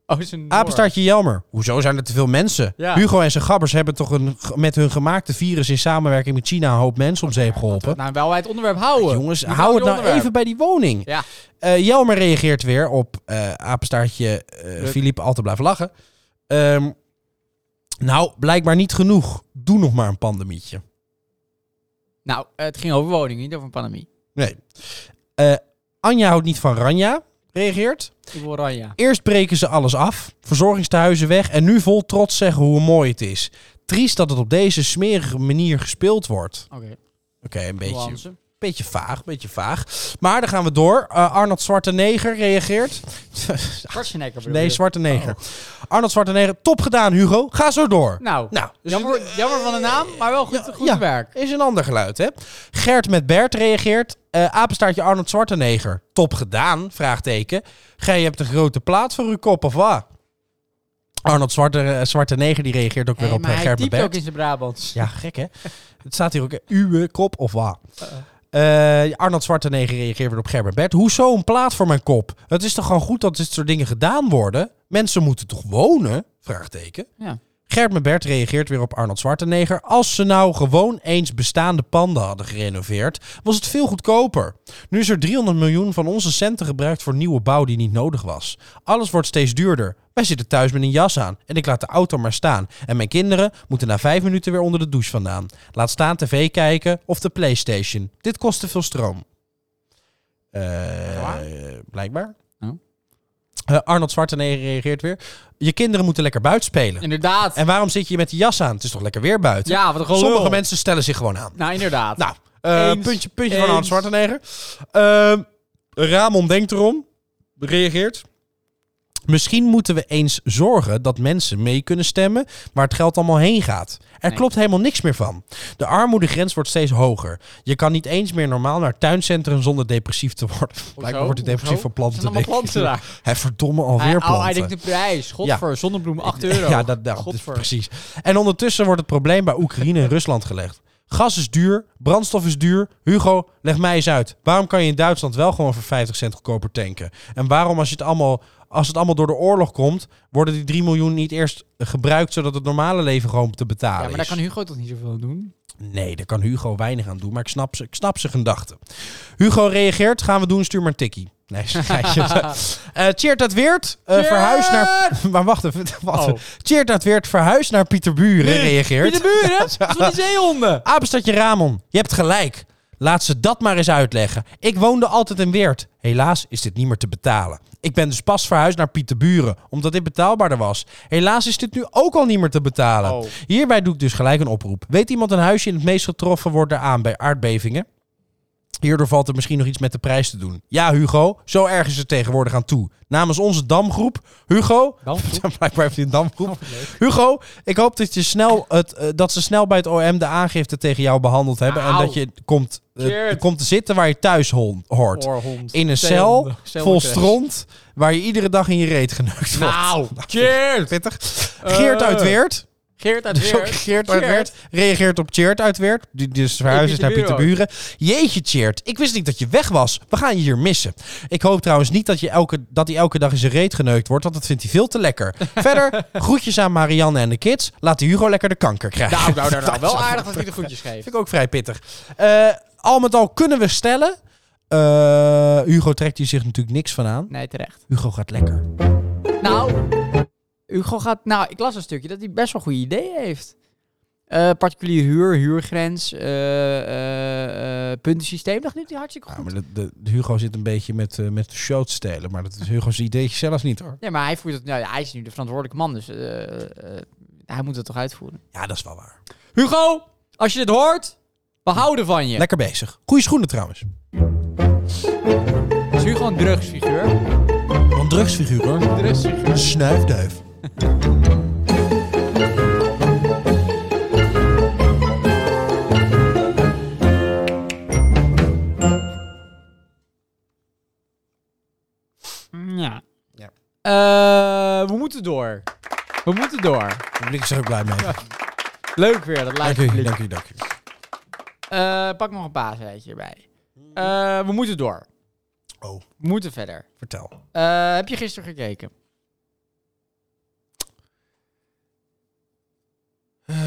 Oh, is een Apenstaartje Jelmer. Hoezo zijn er te veel mensen? Ja. Hugo en zijn gabbers hebben toch een, ge- met hun gemaakte virus in samenwerking met China een hoop mensen om zeep geholpen. Nou, wel bij het onderwerp houden. Jongens, Niet bij hou het nou eh, onderwerp. even bij die woning. Ja. Eh, Jelmer reageert weer op eh apenstaartje eh Ruk. Philippe altijd blijven lachen. Ehm, nou, blijkbaar niet genoeg. Doe nog maar een pandemietje. Nou, het ging over woningen, niet over een pandemie. Nee. Eh, Anja houdt niet van Ranja, reageert. Ik wil Ranja. Eerst breken ze alles af, verzorgingstehuizen weg en nu vol trots zeggen hoe mooi het is. Triest dat het op deze smerige manier gespeeld wordt. Oké, Oké, een beetje nuance. Beetje vaag, beetje vaag. Maar dan gaan we door. Eh, Arnold Zwarte Neger reageert. Schwarzenegger bedoel nee, je? Zwarte Neger. Arnold Zwarte Neger, top gedaan Hugo. Ga zo door. Nou, Nou, dus- jammer, jammer van de naam, maar wel goed, goed ja. werk. Is een ander geluid, hè? Gert met Bert reageert. Eh apenstaartje Arnold Zwarte Neger, top gedaan? Vraagteken. Gij hebt een grote plaat voor uw kop, of wat? Arnold Zwarte, eh, Zwarte Neger die reageert ook weer Hey, op eh, maar hij Gert met typt Bert. ook in zijn Brabants. Ja, gek hè? Het staat hier ook, hè, uwe kop of wa. Eh Arnold Zwartenegger reageert weer op Gerber Bert. Hoezo een plaat voor mijn kop? Het is toch gewoon goed dat dit soort dingen gedaan worden? Mensen moeten toch wonen? Vraagteken. Ja. Gert met Bert reageert weer op Arnold Zwartenegger. Als ze nou gewoon eens bestaande panden hadden gerenoveerd, was het veel goedkoper. Nu is er 300 miljoen van onze centen gebruikt voor nieuwe bouw die niet nodig was. Alles wordt steeds duurder. Wij zitten thuis met een jas aan en ik laat de auto maar staan. En mijn kinderen moeten na vijf minuten weer onder de douche vandaan. Laat staan tv kijken of de Playstation. Dit kost te veel stroom. Eh, Waar? blijkbaar. Oh. Eh, Arnold Schwarzenegger reageert weer. Je kinderen moeten lekker buiten spelen. Inderdaad. En waarom zit je met die jas aan? Het is toch lekker weer buiten? Ja, wat een gelul. Sommige mensen stellen zich gewoon aan. Nou, inderdaad. Nou, eh, Eens. puntje, puntje van Eens. Arnold Schwarzenegger. Ehm, Ramon denkt erom. Reageert. Misschien moeten we eens zorgen dat mensen mee kunnen stemmen waar het geld allemaal heen gaat. Er Nee. klopt helemaal niks meer van. De armoedegrens wordt steeds hoger. Je kan niet eens meer normaal naar tuincentrum zonder depressief te worden. Blijkbaar wordt hij Hoezo? depressief van planten. Zijn allemaal denk ik. planten daar. Hij verdomme Hij, alweer planten. oh, hij denkt de prijs. Godver, zonnebloem 8 euro. Ja, dat, dat, Godver. precies. En ondertussen wordt het probleem bij Oekraïne en Rusland gelegd. Gas is duur, brandstof is duur. Hugo, leg mij eens uit. Waarom kan je in Duitsland wel gewoon voor 50 cent goedkoper tanken? En waarom, als, je het allemaal, als het allemaal door de oorlog komt, worden die 3 miljoen niet eerst gebruikt zodat het normale leven gewoon te betalen Ja, maar daar is? kan Hugo toch niet zoveel aan doen? Nee, daar kan Hugo weinig aan doen, maar ik snap, ze, ik snap zijn gedachten. Hugo reageert, gaan we doen, stuur maar een tikkie. Nee, schijtje. Eh Cheert dat Weert, eh, Cheert! verhuist naar... Maar wacht even, wacht even. Oh. Cheert dat Weert, verhuist naar Pieterburen, reageert. In de buren? Dat is van die zeehonden. Apenstadje Ramon, je hebt gelijk. Laat ze dat maar eens uitleggen. Ik woonde altijd in Weert. Helaas is dit niet meer te betalen. Ik ben dus pas verhuisd naar Pieterburen, omdat dit betaalbaarder was. Helaas is dit nu ook al niet meer te betalen. Oh. Hierbij doe ik dus gelijk een oproep. Weet iemand een huisje in het meest getroffen wordt aan bij aardbevingen? Hierdoor valt er misschien nog iets met de prijs te doen. Ja, Hugo, zo erg is het tegenwoordig aan toe. Namens onze damgroep, Hugo. Damgroep? Blijkbaar heeft hij een damgroep. Hugo, ik hoop dat, je snel het, eh, dat ze snel bij het OM de aangifte tegen jou behandeld hebben. En Au. dat je komt, eh, Cheers. komt te zitten waar je thuis hon- hoort. Oorhond. In een cel Zeehonden. vol Zeehondencrash. stront waar je iedere dag in je reet geneukt wordt. Nou, cheers! Pittig. Geert uit Weert. Geert uit Dus ook Weert. Geert uit Weert reageert op Cheert uit Weert. Die dus verhuisd is naar Pieterburen Pieterburen. Jeetje Cheert, ik wist niet dat je weg was. We gaan je hier missen. Ik hoop trouwens niet dat, je elke, dat hij elke dag in zijn reet geneukt wordt. Want dat vindt hij veel te lekker. Verder, groetjes aan Marianne en de kids. Laat die Hugo lekker de kanker krijgen. Nou, nou, nou, nou. Dat Wel is aardig dat hij de goedjes geeft. Vind ik ook vrij pittig. Eh, al met al kunnen we stellen... eh, Hugo trekt hier zich natuurlijk niks van aan. Nee, terecht. Hugo gaat lekker. Nou, Hugo gaat... Nou, ik las een stukje dat hij best wel goede ideeën heeft. Eh particulier huur, huurgrens, eh eh, eh, puntensysteem. Dat doet hij hartstikke Ja, goed. maar de, de- de Hugo zit een beetje met, eh, met de show te stelen. Maar dat is Hugo's ideetje zelf niet hoor. Nee, maar hij voert het... Nou, ja, hij is nu de verantwoordelijke man, dus eh, eh, hij moet het toch uitvoeren. Ja, dat is wel waar. Hugo, als je dit hoort, we houden van je. Lekker bezig. Goeie schoenen trouwens. Is Hugo een drugsfiguur? Een drugsfiguur hoor. Drugsfiguur. Een snuifduif. Ja. Ja. Eh, we moeten door. We moeten door. Het publiek is er ook blij mee. Leuk weer, dat Dank lijkt u, publiek. dank u, dank u. Eh, pak nog een paasrijtje erbij. Eh, we moeten door. Oh, We moeten verder. vertel. Eh, heb je gisteren gekeken? Eh,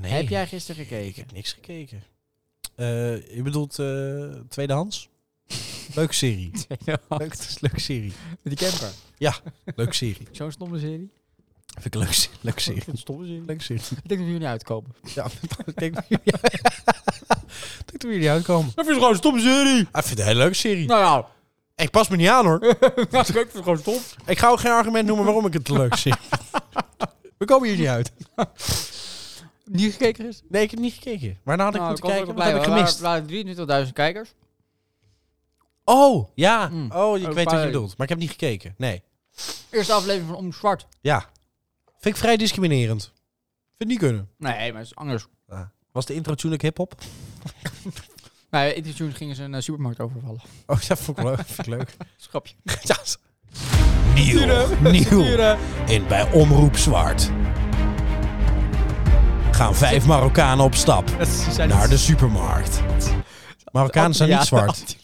nee. Heb jij gisteren gekeken? heb niks gekeken. Eh, je bedoelt eh, tweedehands? Leuke serie. Leuk, het is een leuke serie. Met die camper. Leuke serie. Zo'n stomme serie. Vind ik een leuke se- leuke serie. Een stomme serie. Leuke serie. Ik denk dat we hier niet uitkomen. Ja, ik denk dat jullie- Ik denk dat jullie uitkomen. Dat is gewoon een stomme serie. Ah, Ik vind het een hele leuke serie. Nou ja, Ik pas me niet aan hoor. ik vind het gewoon stom. Ik ga ook geen argument noemen waarom ik het leuk zie. We komen hier niet uit. Niet gekeken gisteren? Nee, ik heb niet gekeken. Maar nou had ik Nou, moeten was kijken, ook wat blij heb ik wel. Er gemist? waren- waren 23.000 kijkers. Oh, ja. Mm. Oh, ik Ook weet wat bij- je bedoelt. Maar ik heb niet gekeken. Nee. Eerste aflevering van Om Zwart. Ja. Vind ik vrij discriminerend. Vind niet kunnen. Ah. Nee, maar het is anders. Was de intro tune ook hiphop? Nou, in die tune gingen ze een eh, supermarkt overvallen. Oh, dat vond ik leuk. Vind ik leuk. Schapje. Ja, is- Nieuw. Nieuw. eh, En bij Omroep Zwart. Gaan vijf Marokkanen op stap Nou, naar dus- de supermarkt. Marokkanen zijn niet zwart.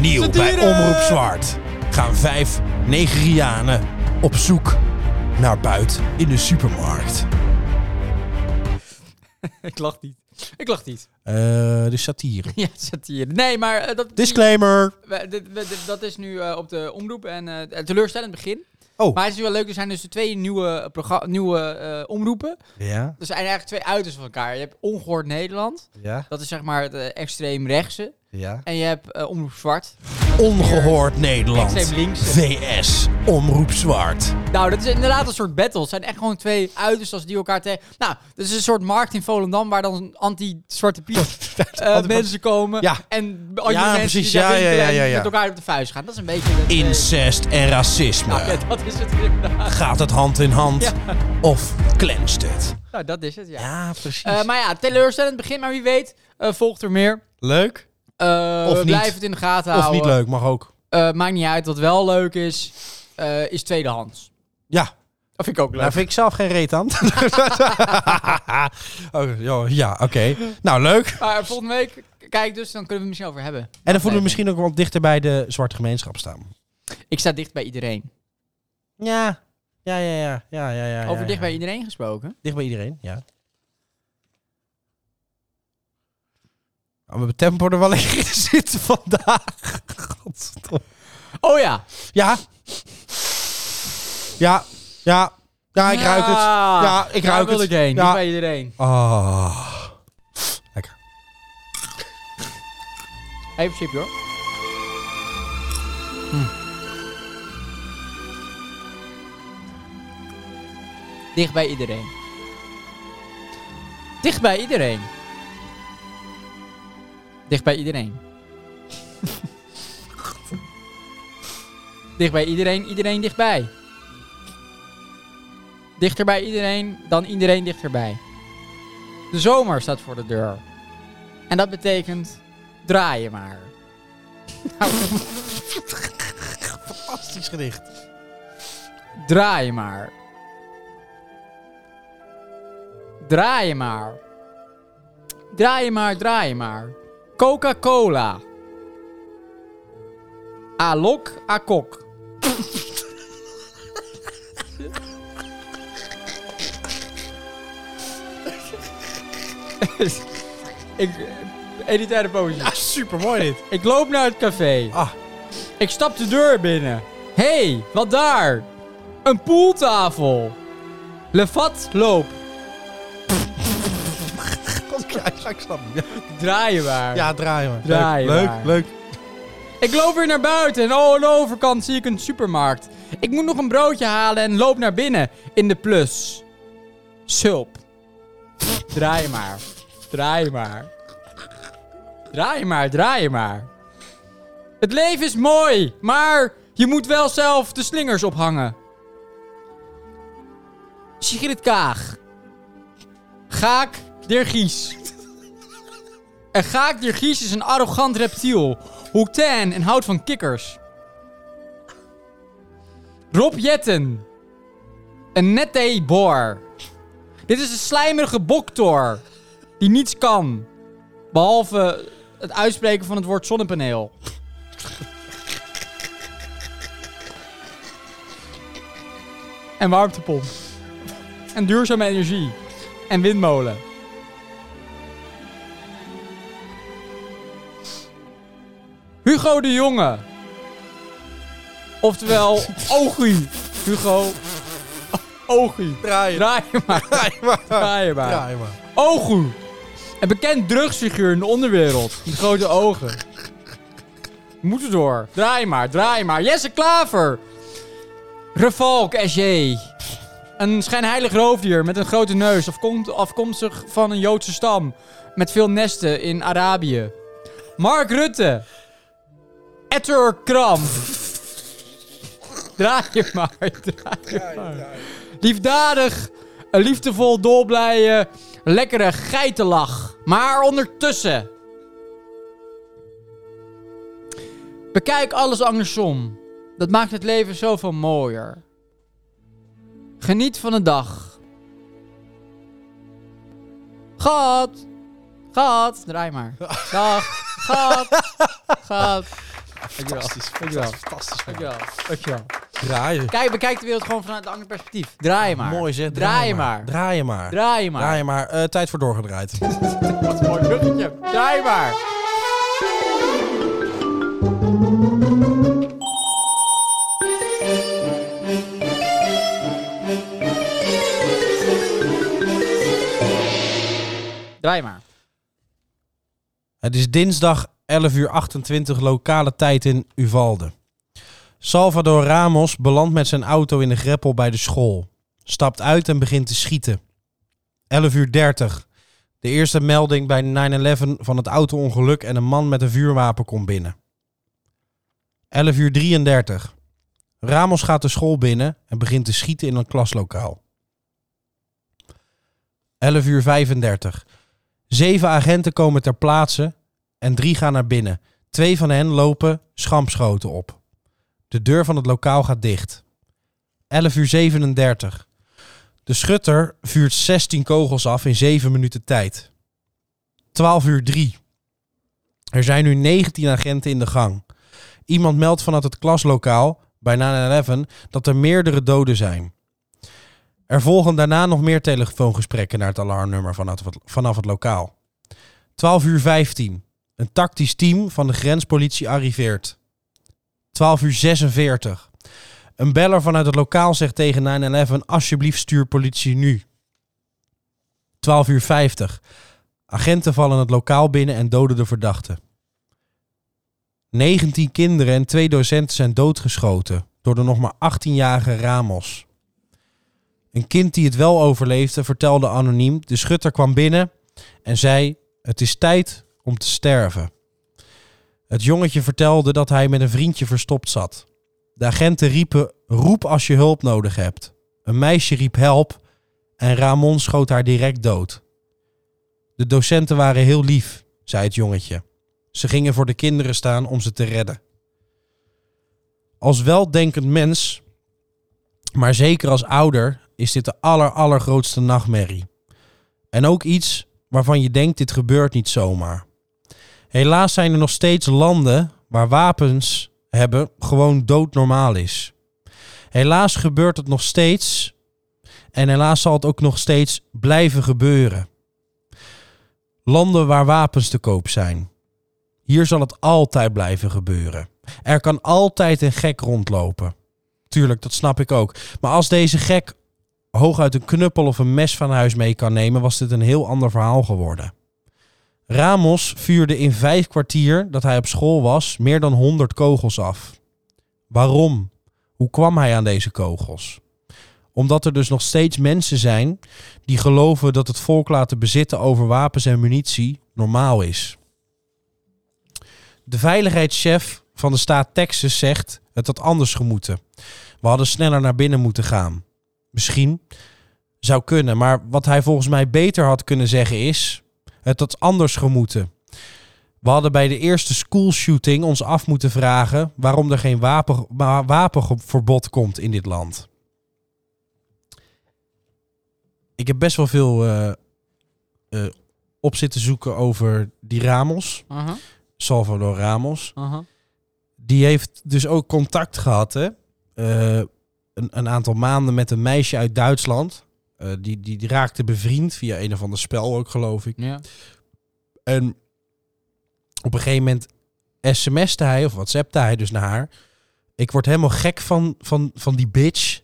Nieuw bij Satire! Omroep Zwart gaan vijf Nigerianen op zoek naar buit in de supermarkt. Ik lach niet. Ik lach niet. Eh, de satire. Ja, satire. Nee, maar eh, dat, Disclaimer. we- dit- we- dit- dat is nu eh, op de omroep en eh, een teleurstellend begin. Oh. Maar het is nu wel leuk. Er zijn dus twee nieuwe, progra- nieuwe eh, omroepen. Ja, Er zijn eigenlijk twee uitersten van elkaar. Je hebt Ongehoord Nederland. ja, Dat is zeg maar het eh, extreem rechtse. ja. En je hebt eh, Omroep Zwart. Ongehoord Nederland. Extreem links. VS. Omroep Zwart. Nou, dat is inderdaad een soort battle. Het zijn echt gewoon twee uitersten als die elkaar tegen... Nou, dat is een soort markt in Volendam waar dan anti-zwarte piet eh, mensen komen. Ja. En al die Ja, mensen precies. die daar Ja, ja, winkelen en ja, ja, ja. met elkaar op de vuist gaan. Dat is een beetje... het, eh, Incest en nou, ja, racisme. dat is het inderdaad. Gaat het hand in hand? Ja. Of clencht het? Nou, dat is het, ja. Ja, precies. Eh, maar ja, teleurstellend begin, maar wie weet eh, volgt er meer. Leuk. Eh, Of we niet. blijven het in de gaten Of houden. niet leuk, mag ook. Eh, maakt niet uit. Wat wel leuk is, eh, is tweedehands. Ja, Dat vind ik ook leuk. Daar vind ik zelf geen reet aan. oh, joh, ja, oké. Nou, leuk. Maar volgende week, kijk dus, dan kunnen we het misschien over hebben. En dan voelen we misschien ook wel dichter bij de zwarte gemeenschap staan. Ik sta dicht bij iedereen. Ja, ja, ja, ja. ja, ja, ja Over ja, dicht ja. bij iedereen gesproken. Dicht bij iedereen, ja. Oh, we hebben tempo er wel in zitten vandaag. Godverdomme. Oh ja. Ja. Ja, ja. Ja, ik ruik het. Ja, ik Ah. Daar ruik wil het. ik heen. Ja. Niet bij iedereen. Ah. Lekker. Even chipje hoor. Hm. Dicht bij iedereen. Dicht bij iedereen. Dicht bij iedereen. dicht bij iedereen, iedereen dichtbij. Dichter bij iedereen dan iedereen dichterbij. De zomer staat voor de deur. En dat betekent draai je maar. Fantastisch gedicht. Draai je maar. Draai je maar. Draai je maar, draai je maar. Coca-Cola. Alok, akok. Ik... Elitaire poëzie. super mooi Ah, dit. Ik loop naar het café. Ah, Ik stap de deur binnen. Hé, hey, wat daar? Een poeltafel. Levat, loop. god, ja, ik snap hem. Draai je maar. Ja, draai maar. Draai leuk, maar. leuk, leuk. Ik loop weer naar buiten en oh, aan de overkant zie ik een supermarkt. Ik moet nog een broodje halen en loop naar binnen in de plus. Sulp. Draai maar. Draai maar. Draai maar, draai maar. Het leven is mooi, maar je moet wel zelf de slingers ophangen. Sigrid Kaag. Gaak der Gies. En Gaak der Gies is een arrogant reptiel. Hoekt tan en houdt van kikkers. Rob Jetten. Een nette boor. Dit is een slijmerige boktor. Die niets kan. Behalve het uitspreken van het woord zonnepaneel. En warmtepomp. En duurzame energie. En windmolen. Hugo de Jonge. Oftewel, Ogie. Hugo. Ogie. Draai Draai je maar. Draai maar. Draai je maar. Draai maar. Ogu. Een bekend drugsfiguur in de onderwereld. Met grote ogen. Moet er door. Draai maar, draai maar. Jesse Klaver. Revalk SJ. Een schijnheilig roofdier met een grote neus. afkomt- Afkomstig van een Joodse stam. Met veel nesten in Arabië. Mark Rutte. Etter Kram. Draai je maar, draai je maar. Liefdadig, een liefdevol, dolblije, lekkere geitenlach. Maar ondertussen... Bekijk alles andersom. Dat maakt het leven zoveel mooier. Geniet van de dag. Gat. Gat. Draai maar. Dag. Gat. Gat. Dankjewel. Fantastisch. Dankjewel. Fantastisch. Dankjewel. Dankjewel. Draaien. Kijk, bekijk de wereld gewoon vanuit een ander perspectief. Draai maar. Mooi zeg. Ah, Draai maar. Draai maar. Draai maar. Draai maar. Eh, tijd voor doorgedraaid. Wat een mooi bruggetje. Draai maar. Draai maar. Het is dinsdag 11 uur 28 lokale tijd in Uvalde. Salvador Ramos belandt met zijn auto in de greppel bij de school. Stapt uit en begint te schieten. 11 uur 30. De eerste melding bij 9-11 van het auto-ongeluk en een man met een vuurwapen komt binnen. 11 uur 33. Ramos gaat de school binnen en begint te schieten in een klaslokaal. 11 uur 35. Zeven agenten komen ter plaatse en drie gaan naar binnen. Twee van hen lopen schampschoten op. De deur van het lokaal gaat dicht. 11 uur 37. De schutter vuurt 16 kogels af in 7 minuten tijd. 12 uur 3. Er zijn nu 19 agenten in de gang. Iemand meldt vanuit het klaslokaal bij 9-11 dat er meerdere doden zijn. Er volgen daarna nog meer telefoongesprekken naar het alarmnummer vanaf het, vanaf het lokaal. 12 uur 15. Een tactisch team van de grenspolitie arriveert. 12 uur 46. Een beller vanuit het lokaal zegt tegen 9-11: Alsjeblieft, stuur politie nu. 12 uur 50. Agenten vallen het lokaal binnen en doden de verdachte. 19 kinderen en twee docenten zijn doodgeschoten door de nog maar 18-jarige Ramos. Een kind die het wel overleefde vertelde anoniem: de schutter kwam binnen en zei: Het is tijd om te sterven. Het jongetje vertelde dat hij met een vriendje verstopt zat. De agenten riepen: Roep als je hulp nodig hebt. Een meisje riep: Help. En Ramon schoot haar direct dood. De docenten waren heel lief, zei het jongetje. Ze gingen voor de kinderen staan om ze te redden. Als weldenkend mens maar zeker als ouder is dit de aller allergrootste nachtmerrie. En ook iets waarvan je denkt dit gebeurt niet zomaar. Helaas zijn er nog steeds landen waar wapens hebben gewoon doodnormaal is. Helaas gebeurt het nog steeds en helaas zal het ook nog steeds blijven gebeuren. Landen waar wapens te koop zijn. Hier zal het altijd blijven gebeuren. Er kan altijd een gek rondlopen. Tuurlijk, dat snap ik ook. Maar als deze gek hooguit een knuppel of een mes van huis mee kan nemen, was dit een heel ander verhaal geworden. Ramos vuurde in vijf kwartier dat hij op school was meer dan 100 kogels af. Waarom? Hoe kwam hij aan deze kogels? Omdat er dus nog steeds mensen zijn die geloven dat het volk laten bezitten over wapens en munitie normaal is. De veiligheidschef van de staat Texas zegt het had anders gemoeten. We hadden sneller naar binnen moeten gaan. Misschien zou kunnen, maar wat hij volgens mij beter had kunnen zeggen is het had anders gemoeten. We hadden bij de eerste schoolshooting ons af moeten vragen waarom er geen wapen, wa- wapenverbod komt in dit land. Ik heb best wel veel eh, eh, op zitten zoeken over die Ramos, Aha, Salvador Ramos aha. die heeft dus ook contact gehad, hè? eh, een, een aantal maanden met een meisje uit Duitsland. Eh, die, die, die raakte bevriend via een of ander spel ook, geloof ik. Ja. En op een gegeven moment sms'te hij of whatsappte hij dus naar haar. Ik word helemaal gek van, van, van die bitch.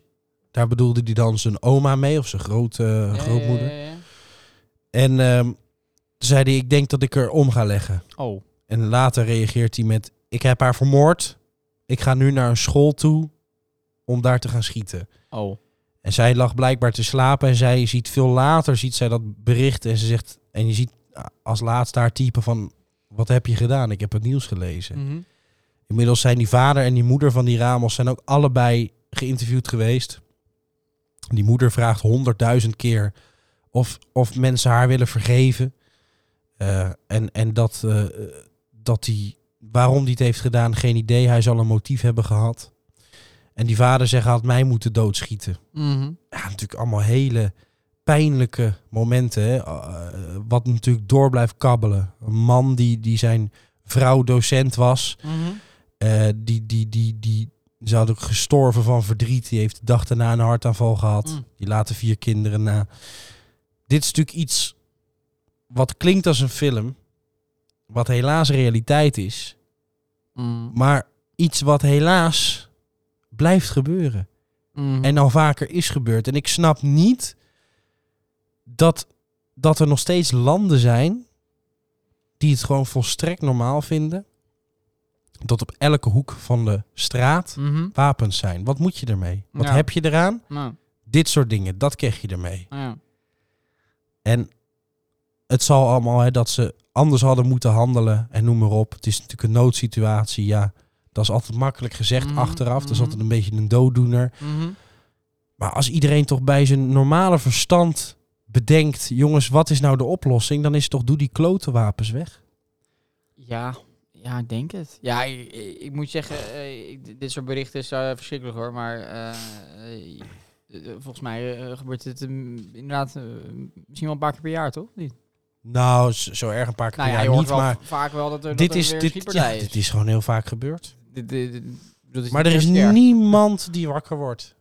Daar bedoelde hij dan zijn oma mee of zijn grote, Ja, grootmoeder. ja, ja, ja. En ehm, toen zei hij, ik denk dat ik er om ga leggen. Oh. En later reageert hij met: Ik heb haar vermoord. Ik ga nu naar een school toe om daar te gaan schieten. Oh. En zij lag blijkbaar te slapen en zij ziet veel later ziet zij dat bericht en ze zegt en je ziet ah, als laatste haar type van wat heb je gedaan? Ik heb het nieuws gelezen. Mhm. Inmiddels zijn die vader en die moeder van die Ramos zijn ook allebei geïnterviewd geweest. Die moeder vraagt honderdduizend keer of, of mensen haar willen vergeven. Eh, en en dat, eh, dat die, waarom die het heeft gedaan, geen idee. Hij zal een motief hebben gehad. En die vader zegt, hij had mij moeten doodschieten. Mhm. Ja, natuurlijk allemaal hele pijnlijke momenten. Hè? Eh, wat natuurlijk door blijft kabbelen. Een man die, die zijn vrouw docent was. Mhm. Eh, die, die, die, die, ze had ook gestorven van verdriet. Die heeft de dag daarna een hartaanval gehad. Mm. Die laten vier kinderen na. Dit is natuurlijk iets wat klinkt als een film. Wat helaas realiteit is. Mhm. Maar iets wat helaas blijft gebeuren Mhm. en al vaker is gebeurd. En ik snap niet dat, dat er nog steeds landen zijn die het gewoon volstrekt normaal vinden. Dat op elke hoek van de straat Mhm. wapens zijn. Wat moet je ermee? Wat Ja. heb je eraan? Nou, Dit soort dingen, dat krijg je ermee. ja. En het zal allemaal hè, dat ze anders hadden moeten handelen en noem maar op. Het is natuurlijk een noodsituatie, ja. Dat is altijd makkelijk gezegd Mhm, achteraf. Dat is mhm. altijd een beetje een dooddoener. Mhm. Maar als iedereen toch bij zijn normale verstand bedenkt, jongens, wat is nou de oplossing? Dan is het toch doe die klote wapens weg. Ja, ja, ik denk het. Ja, ik, ik- ik moet zeggen, eh, ik- dit soort berichten is eh, verschrikkelijk hoor, maar eh, eh, eh, volgens mij eh, gebeurt het mm, inderdaad eh, misschien wel een paar keer per jaar, toch? Niet? Nou, z- zo erg een paar keer Nou ja, per je jaar hoort niet, wel maar v- vaak wel dat er, dit dat er is, weer dit, ja, schietpartijen dit is gewoon heel vaak gebeurd. Dit- dit- dit- dat Maar niet er is de eerste keer. niemand die wakker wordt.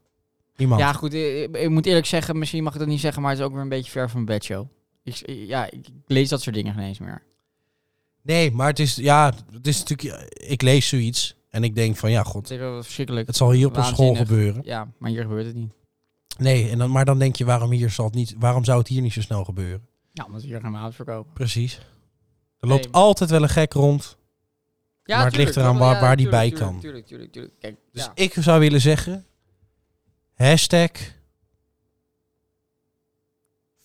Niemand. Ja, goed, eh, ik, ik moet eerlijk zeggen, misschien mag ik dat niet zeggen, maar het is ook weer een beetje ver van mijn bedshow. Ik, eh, ja, ik lees dat soort dingen geen eens meer. Nee, maar het is, ja, het is natuurlijk, ja, ik lees zoiets en ik denk van, ja, Het god, is wel verschrikkelijk. het zal hier op een school Waanzinnig. gebeuren. Ja, maar hier gebeurt het niet. Nee, en dan, maar dan denk je, waarom, hier zal het niet, waarom zou het hier niet zo snel gebeuren? Ja, omdat we hier geen wapens verkopen. Precies. Er loopt Nee. altijd wel een gek rond. Maar het ligt eraan waar- waar die bij kan. Tuurlijk, tuurlijk, tuurlijk. Kijk, Dus ja. ik zou willen zeggen... Hashtag...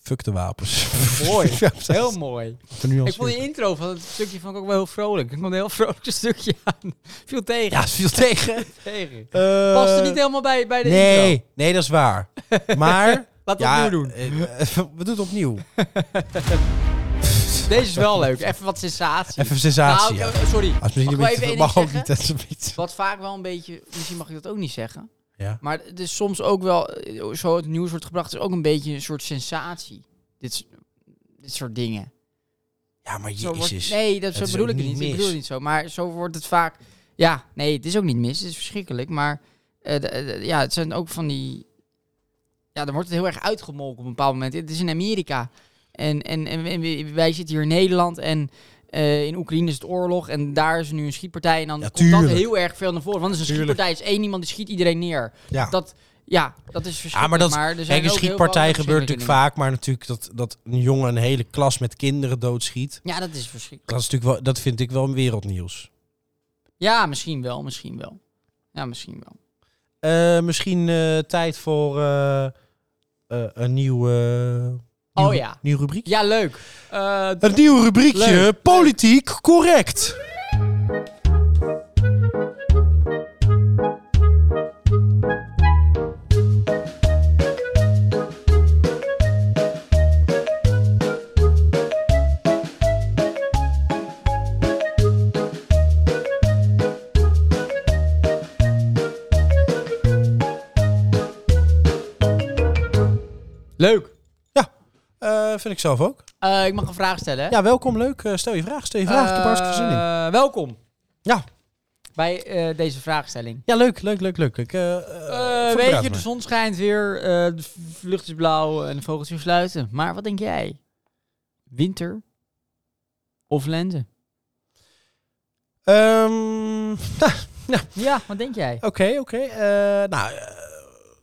Fuck de wapens. Mooi. Ja, dat Heel mooi. moet er nu al Ik vond die intro van het stukje vond ik ook wel heel vrolijk. Ik kwam een heel vrolijk stukje aan. Viel tegen. Ja, het viel tegen. tegen. Eh, Past er niet helemaal bij, bij de intro. Nee, nee, dat is waar. Maar... Laten we ja, opnieuw doen. eh, eh, we doen het opnieuw. Deze is wel leuk. Even wat sensatie. Even sensatie. Nou, ja. ik- eh, sorry. Als misschien Mag ik niet wel te- even mag één ook niet. ding Dat is een beetje- Wat vaak wel een beetje... Misschien mag ik dat ook niet zeggen. Ja. Maar het is soms ook wel... eh, Zo het nieuws wordt gebracht is ook een beetje een soort sensatie. Dit is dit soort dingen. Ja, maar Zo wordt- jezus. nee, dat zo is bedoel ook ik het niet niet. Ik mis. bedoel het niet zo. Maar zo wordt het vaak. Ja, nee, het is ook niet mis. Het is verschrikkelijk. Maar eh, d- d- ja, het zijn ook van die. Ja, dan wordt het heel erg uitgemolken op een bepaald moment. Het is in Amerika. En, en, en, en wij zitten hier in Nederland. En eh, in Oekraïne is het oorlog. En daar is nu een schietpartij. En dan Ja, komt dat tuurlijk. heel erg veel naar voren. Want het is een Tuurlijk. schietpartij. is één iemand die schiet iedereen neer. Ja. Dat, ja, dat is verschrikkelijk. dat- er zijn Kijk, een ook heel schietpartij veel gebeurt verschrikkelijke natuurlijk vaak, maar natuurlijk dat, dat een jongen een hele klas met kinderen doodschiet. dingen. Ja, dat is verschrikkelijk. Dat, is natuurlijk wel, dat vind ik wel een wereldnieuws. Ja, misschien wel, misschien wel. Ja, misschien wel. Eh, misschien eh, tijd voor eh, eh, een nieuw, eh, Oh nieuw- ja. nieuw rubriek. Ja, leuk. Eh, Het nieuwe rubriekje Leuk. Politiek Correct. leuk. Eh, vind ik zelf ook. Eh, ik mag een vraag stellen. hè? Ja, welkom, leuk. Eh, stel je vraag, stel je vraag. ik heb hartstikke veel zin in. Eh, Welkom Ja. bij eh, deze vraagstelling. Ja, leuk, leuk, leuk, leuk. Ik, eh, eh, Eh, voorbereid weet je, me. de zon schijnt weer, eh, de v- lucht is blauw en de vogels weer fluiten. Maar wat denk jij? Winter of lente? Ehm, Ja, wat denk jij? Oké, oké. Eh, nou, eh,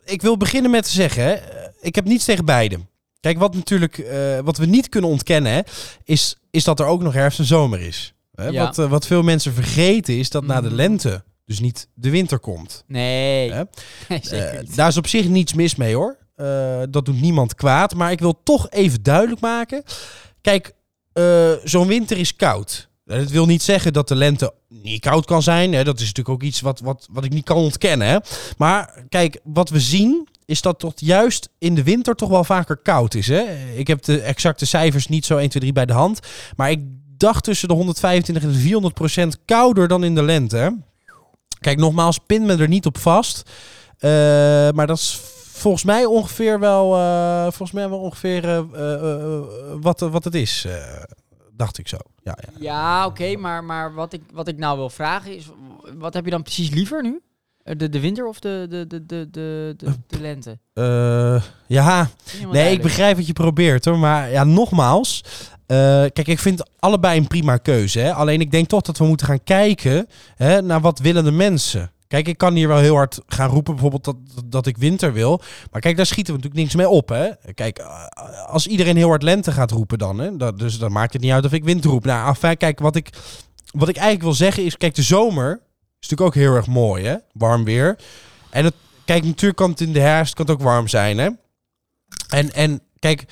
ik wil beginnen met te zeggen, hè, eh, ik heb niets tegen beide. Kijk, wat natuurlijk, eh, wat we niet kunnen ontkennen, hè, is, is dat er ook nog herfst en zomer is. Hè, Ja. wat, eh, wat veel mensen vergeten is dat na de Mhm. lente dus niet de winter komt. Nee. Hè? Nee, zeker Eh, niet. daar is op zich niets mis mee hoor. Eh, dat doet niemand kwaad. Maar ik wil toch even duidelijk maken. Kijk, eh, zo'n winter is koud. Eh, Dat wil niet zeggen dat de lente niet koud kan zijn. Hè. Dat is natuurlijk ook iets wat, wat, wat ik niet kan ontkennen. Hè. Maar kijk, wat we zien is dat tot juist in de winter toch wel vaker koud is. Hè? Ik heb de exacte cijfers niet zo 1, 2, 3 bij de hand. Maar ik dacht tussen de 125 en de 400 procent kouder dan in de lente. hè. Kijk, nogmaals, pin me er niet op vast. Eh, maar dat is volgens mij ongeveer wel, eh, volgens mij wel ongeveer eh, eh, eh, wat, wat het is. eh, dacht ik zo. Ja, ja. Ja, oké, maar, maar wat, ik, wat ik nou wil vragen is, wat heb je dan precies liever nu? Eh, De, de winter of de, de, de, de, de, de, de lente? Eh, ja, Nee, ik begrijp wat je probeert hoor. Maar ja, nogmaals. eh, kijk, ik vind allebei een prima keuze. Hè? Alleen ik denk toch dat we moeten gaan kijken hè, naar wat willen de mensen. Kijk, ik kan hier wel heel hard gaan roepen bijvoorbeeld dat, dat, dat ik winter wil. Maar kijk, daar schieten we natuurlijk niks mee op. Hè? Kijk, eh, als iedereen heel hard lente gaat roepen dan. Hè, dat, dus dan maakt het niet uit of ik winter roep. Nou, afijn, kijk, wat ik, wat ik eigenlijk wil zeggen is... Kijk, de zomer is natuurlijk ook heel erg mooi, hè? Warm weer. En het, kijk, natuurlijk kan het in de herfst kan het ook warm zijn, hè? En, en kijk,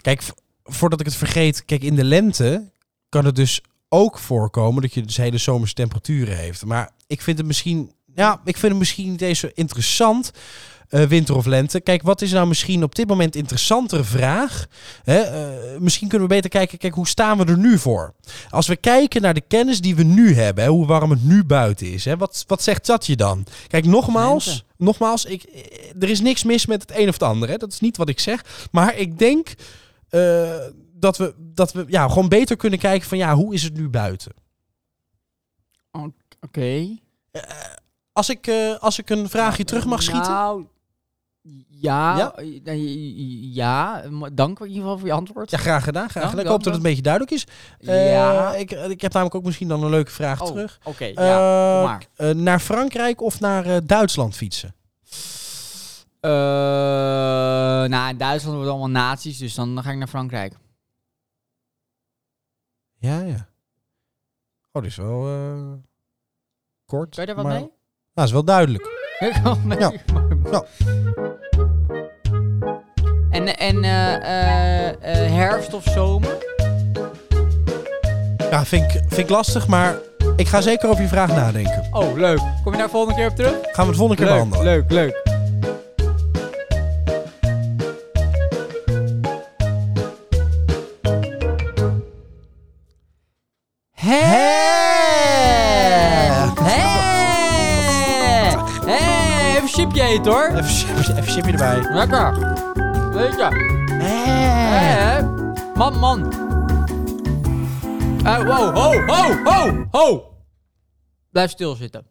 kijk, v- voordat ik het vergeet, kijk, in de lente kan het dus ook voorkomen dat je dus hele zomerse temperaturen heeft. Maar ik vind het misschien, ja, ik vind het misschien niet eens zo interessant, eh, winter of lente. Kijk, wat is nou misschien op dit moment interessantere vraag? Hè, eh, misschien kunnen we beter kijken, kijk, hoe staan we er nu voor? Als we kijken naar de kennis die we nu hebben, hè, hoe warm het nu buiten is, hè, wat, wat zegt dat je dan? Kijk, nogmaals, Lente. nogmaals ik, eh, er is niks mis met het een of het ander. Hè, dat is niet wat ik zeg. Maar ik denk eh, dat we, dat we ja, gewoon beter kunnen kijken van ja, hoe is het nu buiten? Oké. Als ik, eh, als ik een vraagje terug mag schieten. Nou, ja, Ja? ja? ja, maar dank in ieder geval voor je antwoord. Ja, graag gedaan. Graag Ja, gedaan. Ik ja, hoop dat het dat- een beetje duidelijk is. Eh, Ja. ik, ik heb namelijk ook misschien dan een leuke vraag Oh, Eh, terug. Oké, ja. Eh, kom maar. k- eh, naar Frankrijk of naar eh, Duitsland fietsen? Eh, nou, in Duitsland worden allemaal nazi's, dus dan ga ik naar Frankrijk. Ja, ja. Oh, dit is wel eh, kort. Kan je daar wat maar- mee? Nou, is wel duidelijk. Ik kan wel Ja. met u. Ja. En, en eh, eh, eh, herfst of zomer? Ja, vind ik, vind ik lastig, maar ik ga zeker over je vraag nadenken. Oh, leuk. Kom je daar volgende keer op terug? Gaan we het volgende keer behandelen. leuk, leuk. Hè? Hè? Hè? Even chipje eten hoor. Even, chip- even chipje erbij. Lekker. Lekker. Hey. Hè? Man, man. Eh, wow, ho, ho, ho, ho. Blijf stilzitten.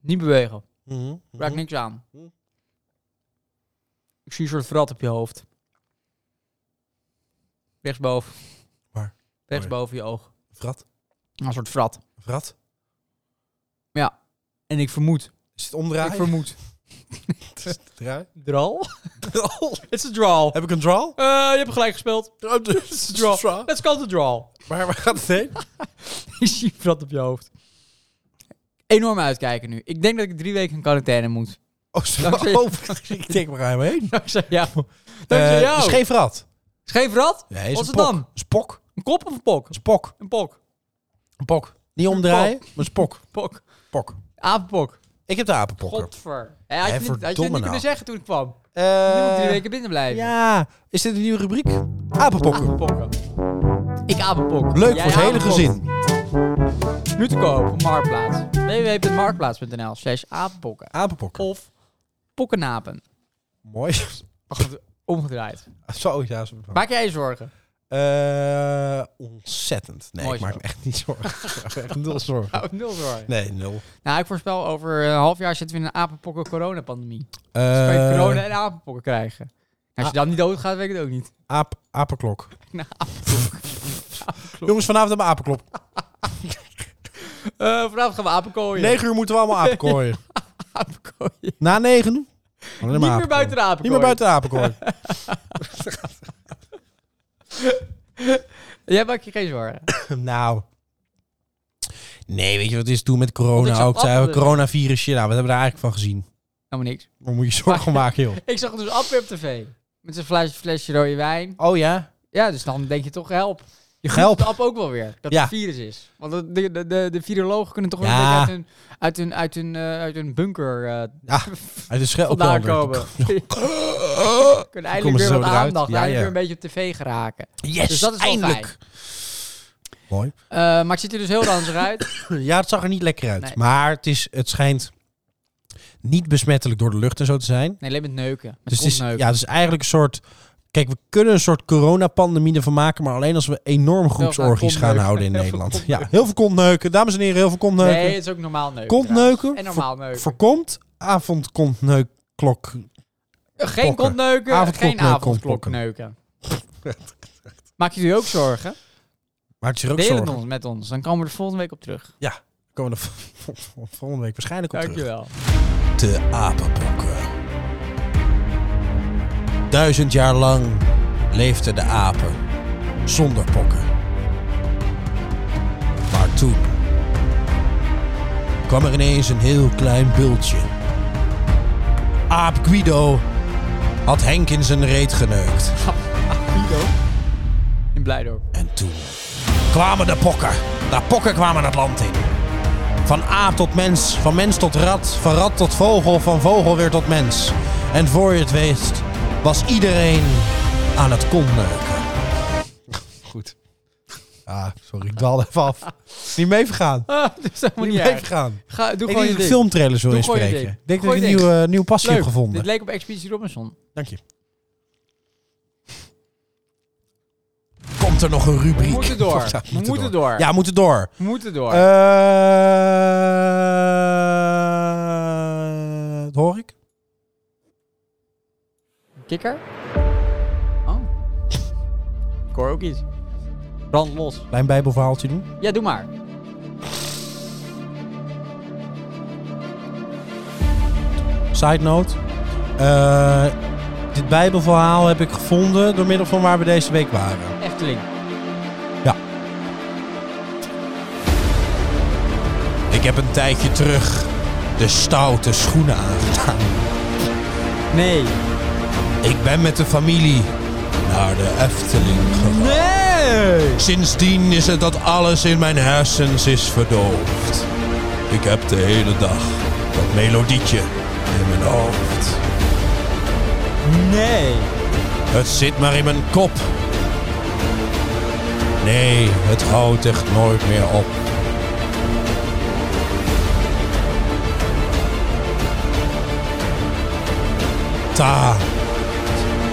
Niet bewegen. Mhm. Raak niks aan. Ik zie een soort vrat op je hoofd. Rechtsboven. Waar? Rechtsboven je oog. Vrat? Een soort vrat. Vrat? En ik vermoed. Is het omdraaien? Ik vermoed. Het is het draaien? Draw? It's a draw. Heb ik een draw? Eh, je hebt gelijk gespeeld. Oh, dus It's a is een draw. draw. Let's call it a draw. Maar waar gaat het heen? Je ziet vrat op je hoofd. Enorm uitkijken nu. Ik denk dat ik drie weken in quarantaine moet. Oh, zo. Dankzij- Oh, ik denk, waar gaan we heen? Dankzij jou. Eh, Dankzij jou. is geen vrat. Scheef rat? Nee, is Wat een is het pok. dan? Is pok. Een kop of een pok? Is pok. Een pok. Een pok. Niet omdraaien, maar is pok. Pok. Pok. Apenpok. Ik heb de apenpokker. Godver. Hé, had, Hé, je niet, had je het niet verdomme nou. kunnen zeggen toen ik kwam. Eh, Je moet drie weken binnen blijven. ja, is dit een nieuwe rubriek? Apenpokken. Apenpokken. Ik apenpok. Leuk Jij voor het hele apenpok. gezin. Nu te koop op Marktplaats. www.marktplaats.nl slash apenpokken. Apenpokken. Of pokkenapen. Mooi. Omge- Omgedraaid. Zo, ja. Zo. Maak jij je zorgen? Eh, ontzettend. Nee, Mooi ik maak zo. me echt niet zorgen. Ik maak me echt nul zorgen. Oh, nul zorgen. Nee, nul. Nou, ik voorspel over een half jaar zitten we in een apenpokken coronapandemie. Dus kan je Eh Ah. corona en apenpokken krijgen. En als je dan niet doodgaat, weet ik het ook niet. aap, apenklok. Nou, apenpokken. Jongens, vanavond hebben we apenklok. Eh, vanavond gaan we apenkooien. 9 uur moeten we allemaal apenkooien. apenkooien. Niet Na Oh, 9? Niet meer buiten de apenkooi. Niet meer buiten de apenkooi. Jij maakt je geen zorgen. nou. Nee, weet je wat het is toen met corona Want ik zag ook? Zei, afbeeldingen. coronavirusje, nou, wat hebben we daar eigenlijk van gezien? Helemaal niks. Waar moet je zorgen om maken, joh? Ik zag het dus af op tv. Met zijn flesje, flesje rode wijn. Oh ja? Ja, dus dan denk je toch, help. Je Help. helpt de app ook wel weer. Dat Ja. het virus is. Want de, de, de, de, de virologen kunnen toch wel een Ja. beetje uit hun, uit hun, uit hun, eh, uit hun bunker eh, Ja, Uit de schel. Oh, vandaan ook wel komen. weer. kunnen Komen eindelijk ze weer zo wat eruit? aandacht. Ja, eindelijk ja. weer een beetje op tv geraken. Yes, Dus dat is wel eindelijk. Mooi. Eh, maar het ziet er dus heel ranzig uit. Ja, het zag er niet lekker uit. Nee. Maar het, is, het schijnt niet besmettelijk door de lucht en zo te zijn. Nee, alleen met neuken. Met Dus het is, ja, kontneuken. het is eigenlijk een soort... Kijk, we kunnen een soort coronapandemie ervan maken... maar alleen als we enorm groepsorgies kontneuken. gaan houden in Heel veel Nederland. Ja, kontneuken. heel veel kontneuken. Dames en heren, heel veel kontneuken. Nee, het is ook normaal neuken. kontneuken. En normaal neuken. Voorkomt avondkontneukklok. Geen Pokken. kontneuken, Avondklokneuken, geen avondklok pokken. neuken. Maak jullie ook zorgen? Maakt zich ook Deel het zorgen. ons met ons. Dan komen we er volgende week op terug. Komen we er vol- vol- volgende week waarschijnlijk op terug. Dankjewel. De apenpokken. Duizend jaar lang leefden de apen zonder pokken. Maar toen kwam er ineens een heel klein bultje. Aap Guido had Henk in zijn reet geneukt. In Blijdorp. En toen kwamen de pokken. De pokken kwamen het land in. Van aap tot mens, van mens tot rat, van rat tot vogel, van vogel weer tot mens. En voor je het weet, was iedereen aan het kontneuken. Goed. Ah, sorry, ik dwaalde even af. Niet mee vergaan. Ah, dat is helemaal niet erg. vergaan. Ga, doe Ik gewoon denk je dat ik ding. filmtrailers wil Doe gewoon je inspreken. ding. Ik denk dat Gooi ik een je ding. nieuwe, nieuwe passie Leuk. heb gevonden. Dit leek op Expeditie Robinson. Dank je. Komt er nog een rubriek? We moeten door. Ja, We moeten door. Ja, we moeten door. We moeten door. Eh, dat hoor ik? Kikker? Oh. Ik hoor ook iets. Brand los. Klein bijbelverhaaltje doen. Ja, doe maar. Side note. Eh, dit bijbelverhaal heb ik gevonden door middel van waar we deze week waren. Efteling. Ik heb een tijdje terug de stoute schoenen aangedaan. Nee. Ik ben met de familie naar de Efteling gegaan. Nee! Sindsdien is het dat alles in mijn hersens is verdoofd. Ik heb de hele dag dat melodietje in mijn hoofd. Nee. Het zit maar in mijn kop. Nee, het houdt echt nooit meer op. Ta.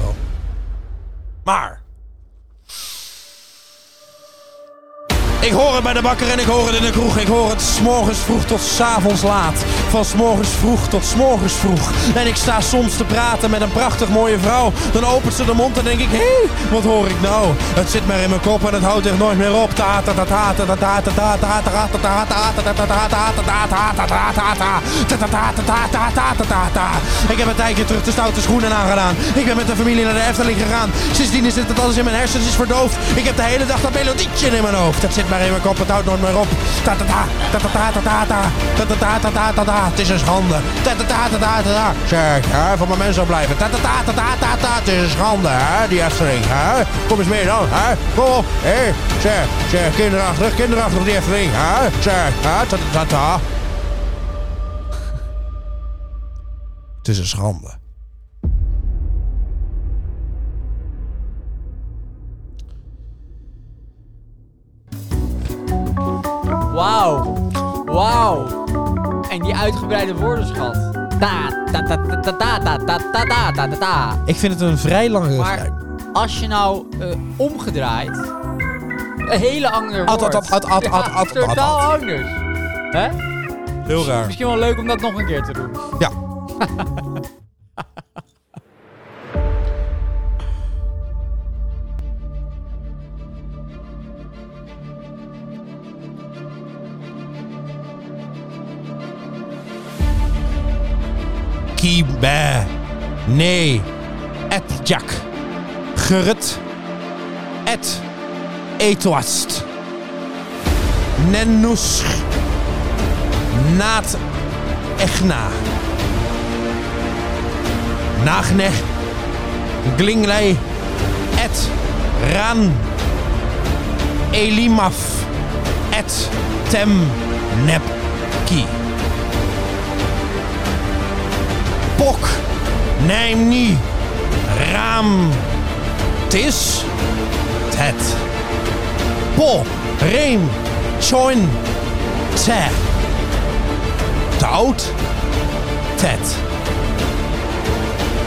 wel. Maar... Ik hoor het bij de bakker en ik hoor het in de kroeg. Ik hoor het s'morgens vroeg tot s'avonds laat. Van s'morgens vroeg tot s'morgens vroeg. En ik sta soms te praten met een prachtig mooie vrouw. Dan opent ze de mond en denk ik, hé, wat hoor ik nou? Het zit maar in mijn kop en het houdt echt nooit meer op. Ta ta ta ta ta ta ta ta ta ta ta ta ta ta ta ta ta ta ta ta ta ta ta ta ta ta ta ta ta ta ta ta ta. Ik heb een tijdje terug de stoute schoenen aangedaan. Ik ben met de familie naar de Efteling gegaan. Sindsdien zit het alles in mijn hersens, is verdoofd. Ik heb de hele dag dat melodietje in mijn hoofd. Dat zit maar in mijn kop, het houdt nooit meer op. Ta ta ta ta ta ta ta ta ta ta ta ta ta ta ta. Het is een schande. Ta ta ta ta ta ta ta. Zeg, hè, voor mijn mensen zo blijven. Ta ta ta ta ta ta ta. Het is een schande, hè, die Efteling, hè. Kom eens mee dan, hè. Kom op, hé. Zeg, zeg, kinderachtig, kinderachtig die Efteling, hè. Zeg, hè, ta ta ta ta. Het is een schande. Wauw. Wauw. En die uitgebreide woordenschat. Ta, ta, ta, ta, ta, ta, ta, ta, ta, ta, ta, ta, ta. Ik vind het een vrij lange Maar als je nou eh, omgedraaid... Een hele ander woord. Ad, ad, ad, ad, ad, Ja, ad, ad, Totaal ad, ad. anders. Hè? Heel raar. Misschien wel leuk om dat nog een keer te doen. Ja. Kiebe. Nee. Etjak. Gerut. Et. Etoast. Nennusch. Naat Echna. Nagne. Glinglei. Et. Ran. Elimaf. Et. Tem. Nepki. Pok. Nijmni. Raam. Tis. Tet. Po. Reem. Choin. Te. Tout. Ted.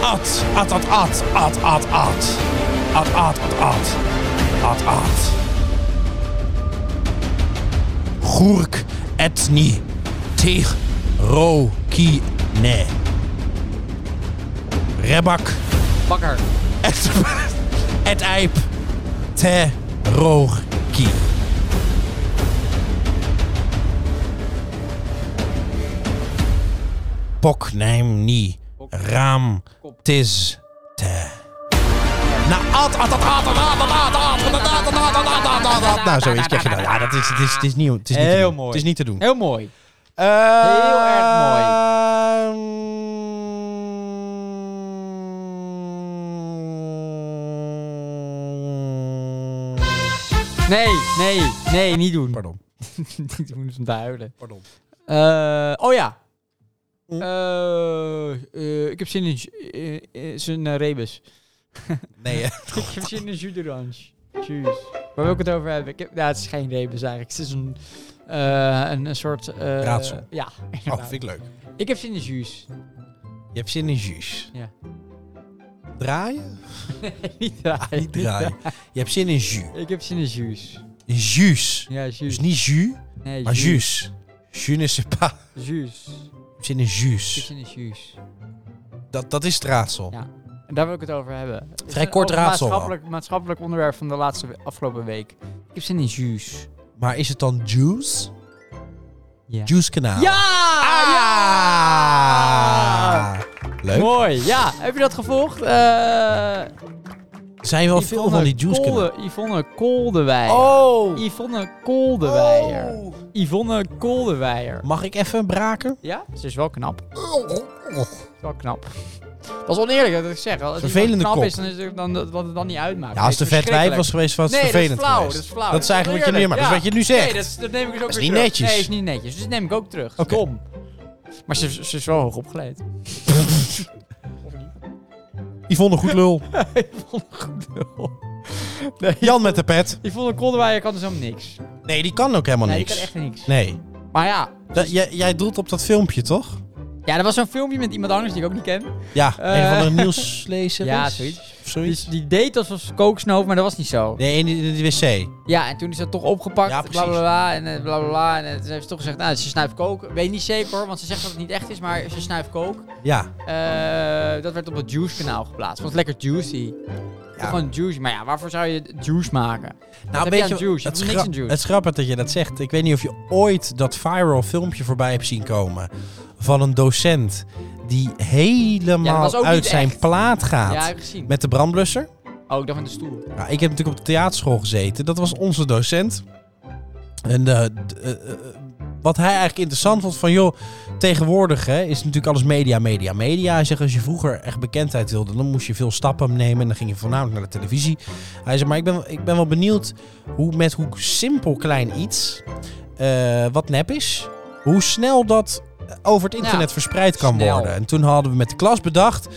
Ad, ad, ad, ad, ad, ad, ad. Ad, ad, ad, ad. Ad, ad. Goerk etni. Tig ro ki ne. Rebak Bakker. et, et eip. Te roog ki. Pok neem ni. Raam tis te. Nou, at, at, at, at, at, at, at, at, at, at, at, at, at, at, at, at, at. Nou, zoiets krijg je dan. Ja, dat is, het is, het is niet, het is niet te Heel doen. mooi. Het is niet te doen. Heel mooi. Eh, Heel erg mooi. Ehm, Nee, nee, nee, niet doen. Pardon. niet doen is om te huilen. Pardon. Eh, oh ja. Eh, eh, ik heb zin in, ju- eh, eh, zijn eh, rebus. Nee, eh, hè? ik heb zin in jus d'orange. Juice. Waar wil ik het over hebben? Ik heb, nou, het is geen rebus eigenlijk. Het is een, eh, een, een soort... eh, Raadsel. Ja, Oh, inderdaad. vind ik leuk. ik heb zin in jus. Je hebt zin in jus. Ja. Draaien? niet draaien. Ah, Niet draaien. Je hebt zin in jus. Ik heb zin in jus. In jus. Ja, jus. Dus niet jus, nee, maar jus. Jus ne sais pas. Jus. Je hebt zin in Ik heb jus. zin in jus. Dat, dat is het raadsel. Ja. En daar wil ik het over hebben. Het is Vrij een kort over- raadsel al. Maatschappelijk, maatschappelijk onderwerp van de laatste we- afgelopen week. Ik heb zin in jus. Maar is het dan juice? Ja! Juice kanaal. Ja! Ah! Leuk. Mooi, ja. Heb je dat gevolgd? Eh Er zijn wel veel van die juice kanalen. Kolde, Yvonne Koldeweijer. Oh! Yvonne eh, Koldeweijer. Yvonne Koldeweijer. Mag ik even braken? Ja, ze is wel knap. Is wel knap. Dat is oneerlijk dat ik zeg. Als iemand Vervelende knap kop. is, dan is het dan, dat, wat het dan niet uitmaakt. Ja, als de Nee, vet wijf was geweest, was het Nee, dat is vervelend flauw. Dat geweest. is flauw. Dat is eigenlijk wat je nu oneerlijk, maar. Dat is ja. wat je nu zegt. Nee, dat, is- dat neem ik dus ook is weer niet terug. netjes. Nee, is niet netjes. Dus dat neem ik ook terug. Dat is Oké. Dom. Maar ze, ze is wel hoog opgeleid. Yvonne Goedlul. Goed. Jan met de pet. Die vond een Kolderweijer kan dus helemaal niks. Nee, die kan ook helemaal Nee, die niks. kan echt niks. Nee. Maar ja, Dat, jij, jij doelt op dat filmpje, toch? ja, er was zo'n filmpje met iemand anders die ik ook niet ken. Ja, Eh. een van de nieuwslezer. Ja, zoiets. Of zoiets. Dus die deed alsof ze kooksnoof, maar dat was niet zo. Nee, in die, in die wc. Ja, en toen is dat toch opgepakt, Ja, ja, precies. bla bla bla, en eh, bla bla bla. En eh, toen heeft ze toch gezegd, nou, ze snuift kook. Weet niet zeker hoor, want ze zegt dat het niet echt is, maar ze snuift kook. Ja. Eh, dat werd op het Juice kanaal geplaatst. Want lekker juicy. Ja. Gewoon juicy. Maar ja, waarvoor zou je juice maken? heb Nou, weet je aan je wat- juice? Je Het, hebt is niks gra- aan juice. het is grappig dat je dat zegt. Ik weet niet of je ooit dat viral filmpje voorbij hebt zien komen. Van een docent die Ja, helemaal dat was ook uit niet zijn echt. plaat gaat. Ja, heb ik gezien. Met de brandblusser. Oh, ik dacht van de stoel. Ja, Nou, ik heb natuurlijk op de theaterschool gezeten. Dat was onze docent. En eh, d- eh, eh, wat hij eigenlijk interessant vond van... joh, tegenwoordig hè, is natuurlijk alles media, media, media. Hij zegt, als je vroeger echt bekendheid wilde... dan moest je veel stappen nemen en dan ging je voornamelijk naar de televisie. Hij zegt, maar ik ben, ik ben wel benieuwd hoe met hoe simpel klein iets... eh, wat nep is, hoe snel dat over het internet Ja, verspreid kan snel. worden. En toen hadden we met de klas bedacht...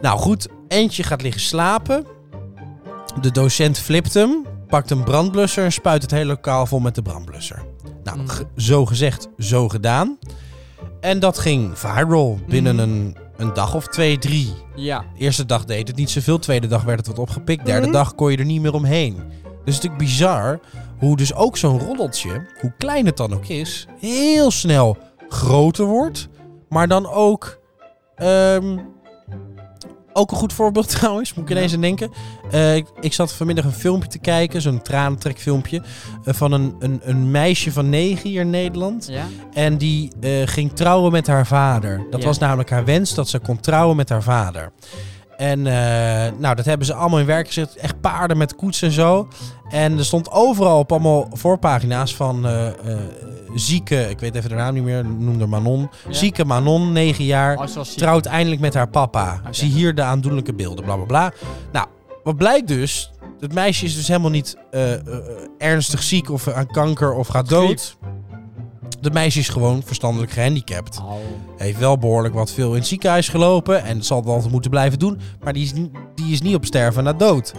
nou goed, eentje gaat liggen slapen... De docent flipt hem, pakt een brandblusser en spuit het hele lokaal vol met de brandblusser. Nou, Mm. ge- zo gezegd, zo gedaan. En dat ging viral binnen Mm. een, een dag of twee, drie. Ja. Eerste dag deed het niet zoveel, tweede dag werd het wat opgepikt, derde dag kon je er niet meer omheen. Dus het is natuurlijk bizar hoe dus ook zo'n roddeltje, hoe klein het dan ook is, heel snel groter wordt. Maar dan ook, ehm, ook een goed voorbeeld trouwens, moet ik ineens aan denken. Eh, ik, ik zat vanmiddag een filmpje te kijken, zo'n tranentrekfilmpje, eh, van een, een, een meisje van negen hier in Nederland. Ja? En die eh, ging trouwen met haar vader. Dat Ja. was namelijk haar wens dat ze kon trouwen met haar vader. En eh, nou, dat hebben ze allemaal in werk gezet. Echt paarden met koets en zo. En er stond overal op allemaal voorpagina's van eh, eh, zieke, ik weet even de naam niet meer, noem haar Manon. Ja. Zieke Manon, 9 jaar, Oh, zoals ziek. trouwt eindelijk met haar papa. Oké. Zie hier de aandoenlijke beelden, bla bla bla. Nou, wat blijkt dus, het meisje is dus helemaal niet eh, eh, ernstig ziek of eh, aan kanker of gaat Griep. dood. De meisje is gewoon verstandelijk gehandicapt. Oh. Heeft wel behoorlijk wat veel in het ziekenhuis gelopen. En zal dat altijd moeten blijven doen. Maar die is, ni- die is niet op sterven na dood.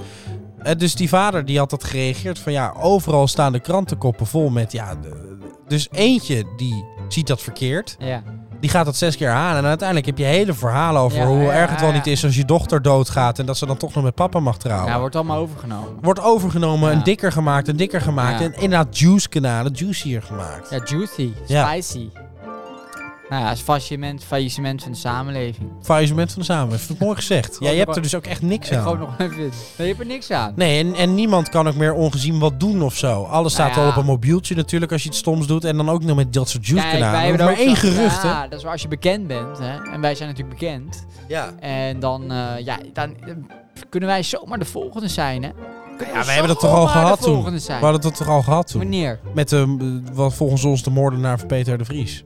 Eh, dus die vader die had dat gereageerd van ja, overal staan de krantenkoppen vol met ja. de- dus eentje die ziet dat verkeerd. Ja. Die gaat dat zes keer aan. En uiteindelijk heb je hele verhalen over Ja, hoe ja, erg het wel ja. niet is als je dochter doodgaat. En dat ze dan toch nog met papa mag trouwen. Ja, Nou, wordt allemaal overgenomen. Wordt overgenomen Ja. en dikker gemaakt en dikker gemaakt. Ja. En inderdaad juice-kanalen, juicier gemaakt. Ja, juicy. Ja. Spicy. Nou ja, het faillissement, faillissement van de samenleving. Faillissement van de samenleving. Mooi gezegd. Ja, Grote je hebt er ba- dus ook echt niks Ik aan. gooi nog even dit. Nee, je hebt er niks aan. Nee, en, en niemand kan ook meer ongezien wat doen of zo. Alles Nou staat ja. al op een mobieltje natuurlijk als je iets stoms doet. En dan ook nog met dat soort juice Kijk, wij kanalen. hebben maar er ook één zo'n- gerucht, hè? Ja, dat is waar als je bekend bent. Hè? En wij zijn natuurlijk bekend. Ja. En dan, eh, ja, dan eh, kunnen wij zomaar de volgende zijn, hè? Ja, wij hebben dat toch al gehad de toen? volgende We zijn. hadden dat toch al gehad toen? Wanneer? Met de, wat volgens ons de moordenaar van Peter de Vries.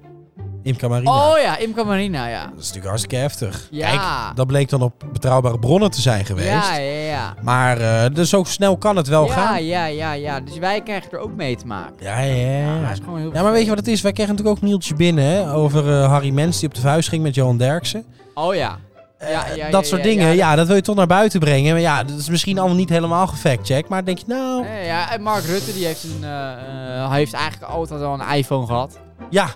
Imca Marina. Oh ja, Imca Marina, ja. Dat is natuurlijk hartstikke heftig. Ja. Kijk, dat bleek dan op betrouwbare bronnen te zijn geweest. Ja, ja, ja. Maar eh, dus zo snel kan het wel ja, gaan. ja, ja, ja. Dus wij krijgen er ook mee te maken. Ja, ja, Ja, ja. dat is gewoon heel Ja, maar weet je wat het is? Wij kregen natuurlijk ook nieuwtjes binnen hè, over eh, Harry Mens die op de vuist ging met Johan Derksen. Oh ja. Ja, ja, Eh, ja, dat ja, soort ja, dingen, ja, ja. dat wil je toch naar buiten brengen. Maar ja, dat is misschien allemaal niet helemaal gefactcheckt. Maar dan denk je, nou, Nee, ja, en Mark Rutte die heeft, een, eh, eh, hij heeft eigenlijk altijd al een iPhone gehad. ja,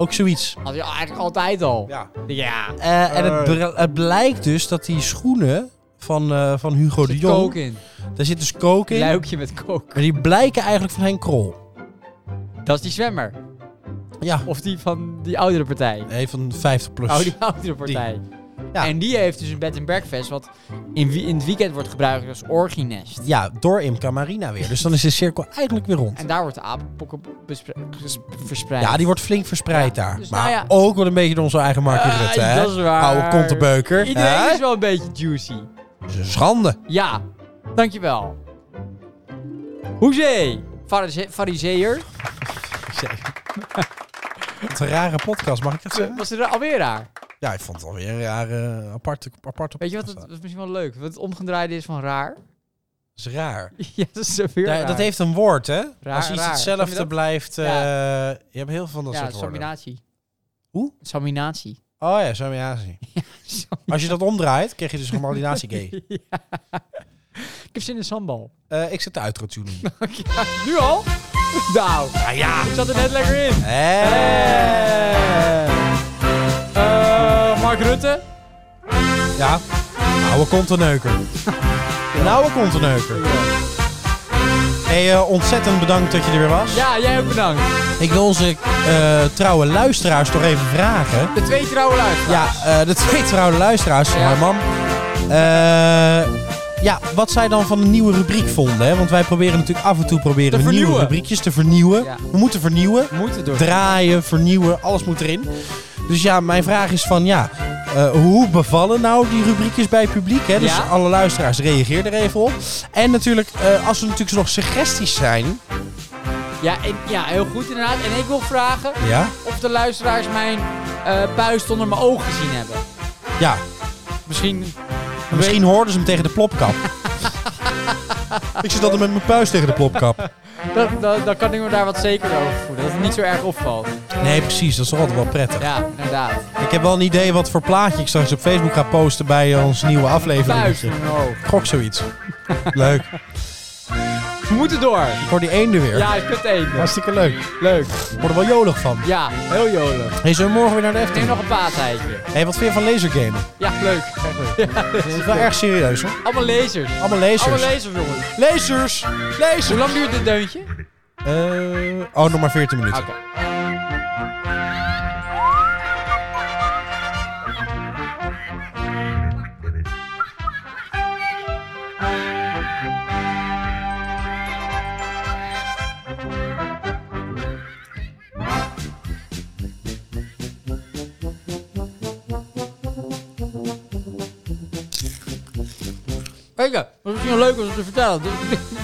ook zoiets. Had hij eigenlijk altijd al. Ja. Ja. Eh, en het, br- het blijkt dus dat die schoenen van, eh, van Hugo de Zit Jong, kook in. daar zit dus kook in. Luikje met kook. Maar die blijken eigenlijk van Henk Krol. Dat is die zwemmer. Ja, Of die van die oudere partij. nee, van 50 plus. Oh, die oudere partij. Ja. En die heeft dus een bed and breakfast, wat in, wie- in het weekend wordt gebruikt als orginest. Ja, door Imca Marina weer. Dus dan is de cirkel eigenlijk weer rond. En daar wordt de apenpokken bespre- ges- verspreid. Ja, die wordt flink verspreid daar. dus maar nou ja. ook wel een beetje door onze eigen Mark Ah, Rutte, hè? dat is waar. Oude kontenbeuker. Iedereen hè? is wel een beetje juicy. Dat is een schande. Ja, dankjewel. Hoezee, Farise- fariseer. Wat een rare podcast, mag ik dat zeggen? Was er alweer daar? Ja, ik vond het alweer een rare, aparte, aparte Weet je wat, het, podcast. dat is misschien wel leuk. Wat het omgedraaide is van raar. Dat is raar. ja, dat is weer Ja, raar. dat heeft een woord, hè? Raar, Als iets raar. Vond hetzelfde je dat? blijft... eh, Je hebt heel veel van dat ja, soort woorden. saminatie. Hoe? Saminatie. Oh ja, saminatie. Sam- Als je dat omdraait, krijg je dus gemalinatie gay. Ik heb zin in sambal. Eh, ik zet de outro tune in. Ja, nu al? Nou, Ah ja! ik zat er net lekker in. Hey. Eh, Mark Rutte. Ja, oude konteneuker. Een oude konteneuker. Hey, eh, ontzettend bedankt dat je er weer was. Ja, jij ook bedankt. Ik wil onze eh, trouwe luisteraars toch even vragen. De twee trouwe luisteraars. Ja, eh, de twee trouwe luisteraars van Ja. haar man. Eh, ja, wat zij dan van een nieuwe rubriek vonden. Hè? Want wij proberen natuurlijk af en toe proberen Te we nieuwe vernieuwen. rubriekjes te vernieuwen. Ja. We moeten vernieuwen. Moeten door. draaien, vernieuwen, alles moet erin. Dus ja, mijn vraag is van ja, eh, hoe bevallen nou die rubriekjes bij het publiek? Hè? Dus Ja. alle luisteraars, reageer er even op. En natuurlijk, eh, als er natuurlijk nog suggesties zijn. Ja, en, ja, heel goed inderdaad. En ik wil vragen Ja? of de luisteraars mijn eh, puist onder mijn oog gezien hebben. Ja, Misschien... misschien hoorden ze hem tegen de plopkap. ik zit altijd met mijn puist tegen de plopkap. Dan, dan, dan kan ik me daar wat zekerder over voelen. Dat het niet zo erg opvalt. Nee, precies, dat is toch altijd wel prettig. Ja, inderdaad. Ik heb wel een idee wat voor plaatje ik straks op Facebook ga posten bij eh, onze nieuwe aflevering. Puist onder mijn oog. Gok zoiets. Leuk. We moeten door. Ik hoor die eenden weer. Ja, je kunt eten. Hartstikke leuk. Leuk. Ik word er wel jolig van. Ja, heel jolig. Hey, zullen we morgen weer naar de Neem Efteling? nog een paaseitje. Hé, hey, wat vind je van lasergamen? Ja, leuk. Dat is wel erg serieus, hoor. Allemaal lasers. Allemaal lasers. Allemaal lasers, jongens. lasers! Lasers! Hoe lang duurt dit deuntje? Eh, oh, nog maar 14 minuten. Oké. Kijk, dat is misschien wel leuk om te vertellen. Dus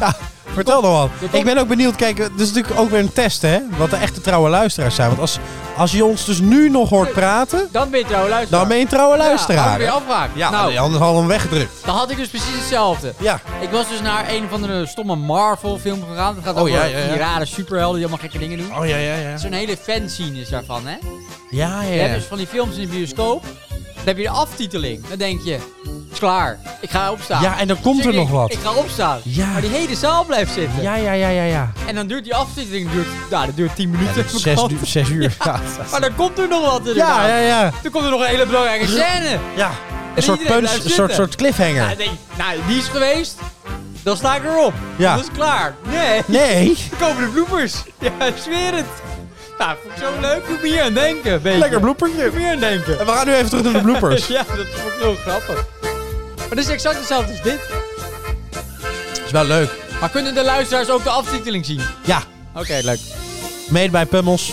Ja, vertel nog wat. komt- Ik ben ook benieuwd. Kijk, het is natuurlijk ook weer een test, hè? Wat de echte trouwe luisteraars zijn. Want als, als je ons dus nu nog hoort praten, Dan ben je trouwens luisteraar. dan ben je een trouwe Ja, luisteraar. hou je weer afwaakt. Ja, nou, anders hadden we hem weggedrukt. dan had ik dus precies hetzelfde. Ja. Ik was dus naar een van de stomme Marvel film gegaan. Dat gaat Oh, over ja, ja, ja. die rare superhelden die allemaal gekke dingen doen. Oh, ja, ja, ja. Zo'n hele fanscene is daarvan, hè? Ja, Je ja, hebt ja. dus van die films in de bioscoop. Dan heb je de aftiteling. Dan denk je, het is klaar. Ik ga opstaan. Ja, en dan Dus komt ik er nog denk, wat. Ik ga opstaan. Ja. Maar die hele zaal blijft zitten. Ja, ja, ja, ja, ja. En dan duurt die aftiteling, duurt, nou, dat duurt 10 Ja, minuten. dat is Zes, du- zes uur. Ja, Maar dan komt er nog wat inderdaad. ja, ja. ja. Dan komt er nog een hele belangrijke scène. Ja, een soort, iedereen punch, blijft een soort, zitten. soort cliffhanger. Nou, ik denk, nou, die is geweest. Dan sta ik erop. Ja. Dat is klaar. Nee. nee, Er komen de bloepers. Ja, ik zweer het. Nou, vond ik zo leuk. Moet me hier aan denken. een beetje. lekker Moet bloepertje. me hier aan denken. Dus En we gaan nu even terug naar de bloopers. Ja, dat vond ik heel grappig. Maar dat is exact hetzelfde als dit. is wel leuk. Maar kunnen de luisteraars ook de aftiteling zien? Oké, Ja, leuk. made by Pummels.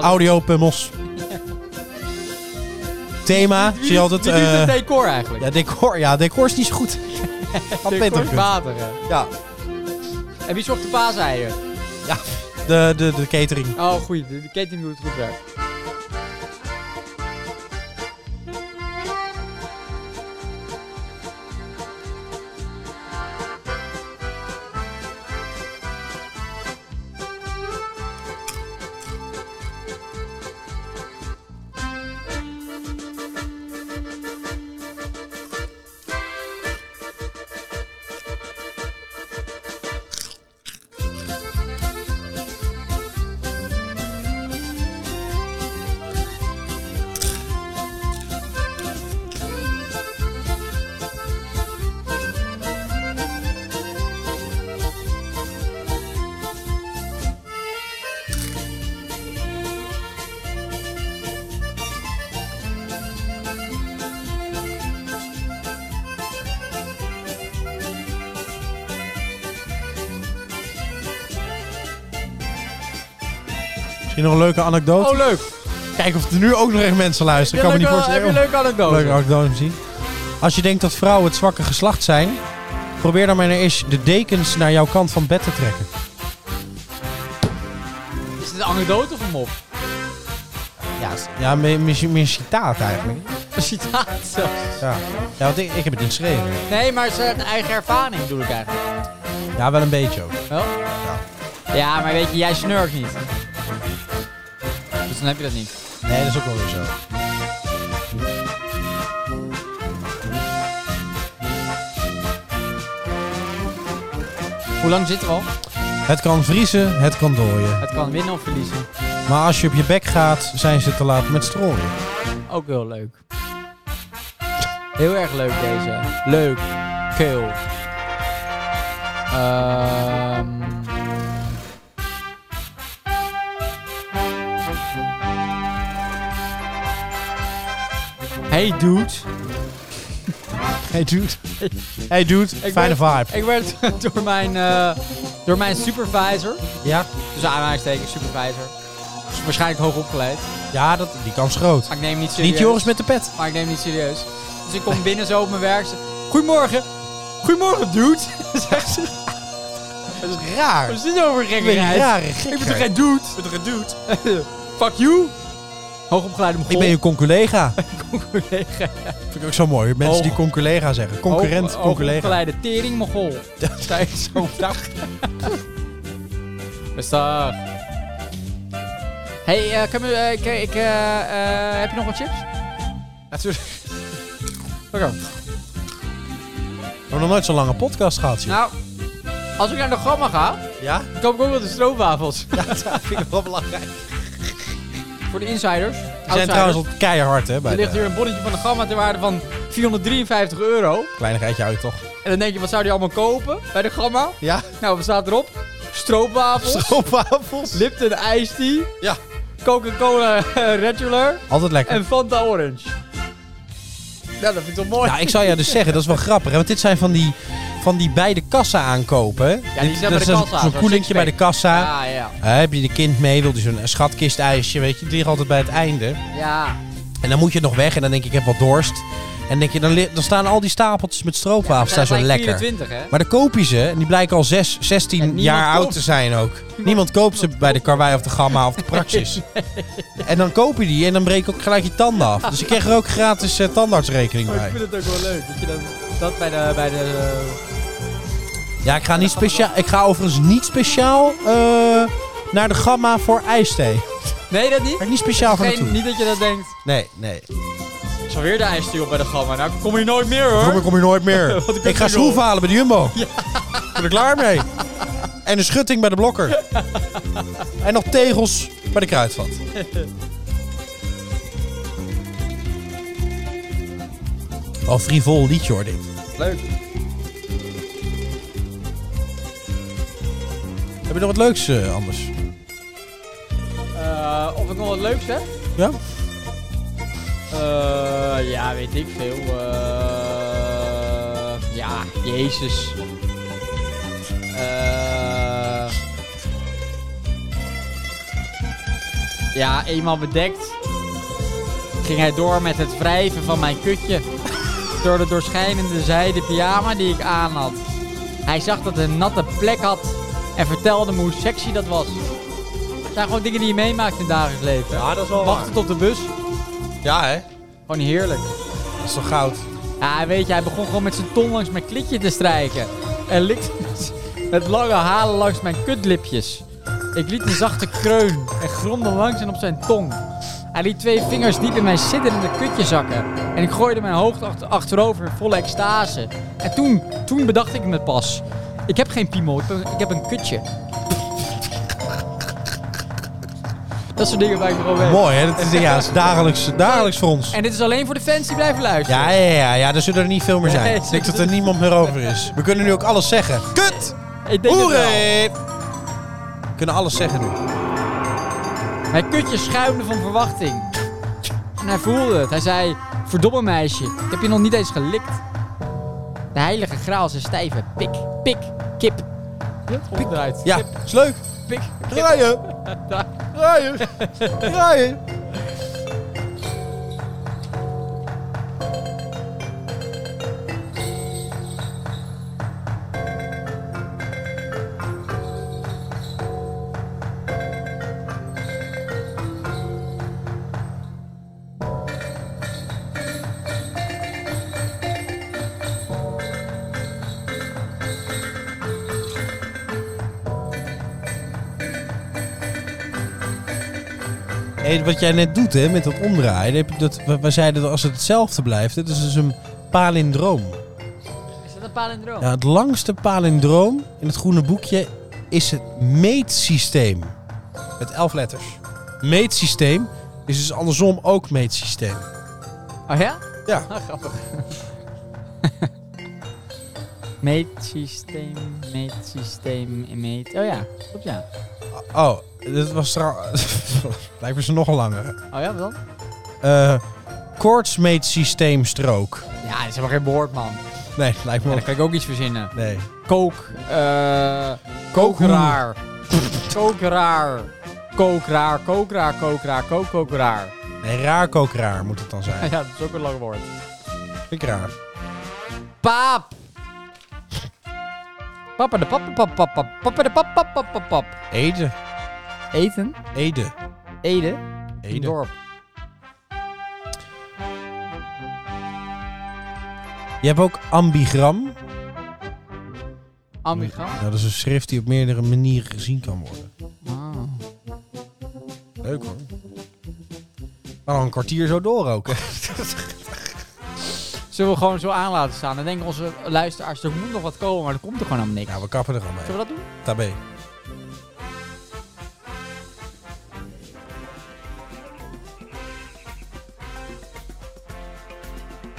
Audio Pummels. Thema, Wie zie je doet- altijd... Wie doet het eh, decor eigenlijk? ja, decor, ja, decor is niet zo goed. Had decor beter is gekund. water, hè. Ja, En wie zorgt de paaseieren? ja. De, de, de catering. Oh, goeie. De, de ketting doet het goed werk. Misschien nog een leuke anekdote. Oh, leuk. Kijk of er nu ook nog echt mensen luisteren. Ik kan me niet heb je een voorstellen. leuke anekdote? Leuke anekdote zien. Als je denkt dat vrouwen het zwakke geslacht zijn... Probeer dan maar eens de dekens naar jouw kant van bed te trekken. Is dit een anekdote of een mop? Ja, s- ja meer, meer, meer citaat eigenlijk. Citaat zelfs. Ja, ja want ik, ik heb het niet geschreven. Nee, maar zijn eigen ervaring bedoel ik eigenlijk. Ja, wel een beetje ook. Wel? Ja, maar weet je, jij snurkt niet. Dus dan heb je dat niet. Nee, dat is ook wel weer zo. Hoe lang zitten we al? Het kan vriezen, het kan dooien. Het kan winnen of verliezen. Maar als je op je bek gaat, zijn ze te laat met strooien. Ook heel leuk. Heel erg leuk deze. Leuk. Keel. Ehm. Hey dude. Hey dude. Hey dude, Ik fijne ben- vibe. Ik werd door mijn, eh, door mijn supervisor, Ja, dus aanhalingstekens supervisor, is waarschijnlijk hoog opgeleid. ja dat, die kans is groot. Maar ik neem hem niet serieus. Niet Joris met de pet. Maar ik neem het niet serieus. Dus ik kom binnen zo op mijn werk. ze- Goedemorgen. Goedemorgen, dude. Zegt ze. Dat is raar. Wat is dit over Ik ben een gekkigheid? rare Ik ben gekheid. toch geen dude? Ik ben toch een dude? Fuck you. Hoogopgeleide Mongool. Ik ben je conculega. collega. Vind ik ook zo mooi. Mensen Hoog- die conculega zeggen. Concurrent, Hoog- conculega. Hoogopgeleide tering Mongool. Dat zei ik zo dag. Rustig. Hey, eh, kan je- eh, kan ik, eh, eh, heb je nog wat chips? Natuurlijk. Oké. We hebben nog nooit zo'n lange podcast gehad, joh. Nou, als ik naar de gamma ga, Ja? dan koop ik ook wel de stroopwafels. Dat vind ik wel belangrijk. We Voor de insiders. zijn trouwens al keihard, hè, bij Er ligt de hier een bonnetje van de Gamma ter waarde van 453 euro. kleinigheidje uit, toch? En dan denk je, wat zou die allemaal kopen bij de Gamma? Ja? Nou, wat staat erop? Stroopwafels, Stroopwafels. Lipton Ice Tea, Ja. Coca-Cola eh, Regular Altijd lekker. en Fanta Orange. Nou, dat vind ik toch mooi. Nou, ik zou jou dus zeggen, dat is wel grappig. Hè? Want dit zijn van die, van die bij de kassa aankopen. hè? die Dit- zijn bij dat de is een- kassa, Zo'n zo'n koelingje bij sixpack. de kassa. ja, ja. Hè, heb je de kind mee, wil die zo'n schatkist ijsje, weet je. Die ligt altijd bij het einde. Ja. En dan moet je nog weg en dan denk ik, ik heb wat dorst. En dan denk je, dan, li- dan staan al die stapeltjes met stroopwafels daar Dat zo lijkt lekker. 24, hè? Maar dan koop je ze en die blijken al 6, 16 En jaar niemand oud koopt. te zijn ook. Niemand, koopt ze bij de Karwei of de Gamma of de Praxis. En dan koop je die en dan breek je ook gelijk je tanden af. Dus ik kreeg er ook gratis eh, tandartsrekening Maar Oh, ik bij. vind het ook wel leuk dat je dan dat bij de... Bij de eh, Ja, ik ga, niet speciaal, ik ga overigens niet speciaal eh, naar de Gamma voor ijsthee. Daar Nee, dat niet? ga ik niet speciaal van Geen, naartoe. niet dat je dat denkt. Nee, nee. Zo weer de ijs tea op bij de Gamma. Nou, ik kom hier nooit meer hoor. Vroeger kom je nooit Wat meer. een ik ga kutregel. schroeven halen bij de Jumbo. Ik ben er klaar mee. En een schutting bij de blokker. En nog tegels bij de kruidvat. Wel een frivol liedje hoor dit. Leuk. Heb je nog wat leuks eh, anders? Eh, of ik nog wat leuks heb? Ja? Eh, ja, weet ik veel. Eh, ja, Jezus. Eh, ja, eenmaal bedekt ging hij door met het wrijven van mijn kutje. Door de doorschijnende zijde pyjama die ik aan had. Hij zag dat het een natte plek had en vertelde me hoe sexy dat was. Het zijn gewoon dingen die je meemaakt in het dagelijks leven. dat is wel Wachten tot de bus. Ja hè? Gewoon heerlijk. Dat is toch goud? Ja, weet je, hij begon gewoon met zijn tong langs mijn klitje te strijken. En likte met- met lange halen langs mijn kutlipjes. Ik liet een zachte kreun en gromde langs en op zijn tong. Hij liet twee vingers diep in mijn zitterende kutje zakken. En ik gooide mijn hoofd achter- achterover in volle extase. En toen, toen bedacht ik me pas. Ik heb geen piemel, ik, ben- ik heb een kutje. Dat soort dingen waar ik gewoon mee. Mooi hè? Dat is, ja, dat is dagelijks, dagelijks voor ons. En dit is alleen voor de fans die blijven luisteren. Ja, ja, ja, ja, er zullen er niet veel meer zijn. Nee, ik denk dat er niemand meer over is. We kunnen nu ook alles zeggen. Kut! Ik denk het wel. Hoeré! We kunnen alles zeggen nu. Mijn kutje schuimde van verwachting. En hij voelde het. Hij zei, verdomme meisje, ik heb je nog niet eens gelikt. De heilige graal is een stijve pik, pik, kip. Pik, Ja, Kip, is leuk. pik, kip. Draaien. Draaien. Draaien. Nee, wat jij net doet, hè, met dat omdraaien. heb je Dat, we, we zeiden dat als het hetzelfde blijft, het is dus een palindroom. Is dat een palindroom? Ja, het langste palindroom in het groene boekje is het meetsysteem. Met elf letters. Meetsysteem is dus andersom ook meetsysteem. Oh ja? Ja. Ah, grappig. meetsysteem, meetsysteem, meet... Oh ja, klopt ja. Oh, dit was trouwens... Blijven ze nog langer. Oh ja, wat dan? Eh koortsmeetsysteem strook. Ja, dat is helemaal geen woord, man. Nee, lijkt me Ja, ook... dan kan ik ook iets verzinnen. Nee. Kook, eh... Kookraar. Kookraar. Kookraar, kookraar, kookraar, kook, kookraar. Nee, raar kook raar moet het dan Ja, zijn. dat is ook een lang woord. Vind ik raar. Paap. Papa de papa papa papa papa de papa papa papa pap. Ede. Eten? Ede. Ede? Een Ede. dorp. Je hebt ook ambigram. Ambigram? Nou, dat is een schrift die op meerdere manieren gezien kan worden. Ah. Leuk hoor. Maar al een kwartier zo door ook. hè. Zullen we gewoon zo aan laten staan? Dan denken onze luisteraars, er moet nog wat komen, maar er komt er gewoon helemaal niks. Nou, we kappen er al mee. Zullen we dat doen? Tabé.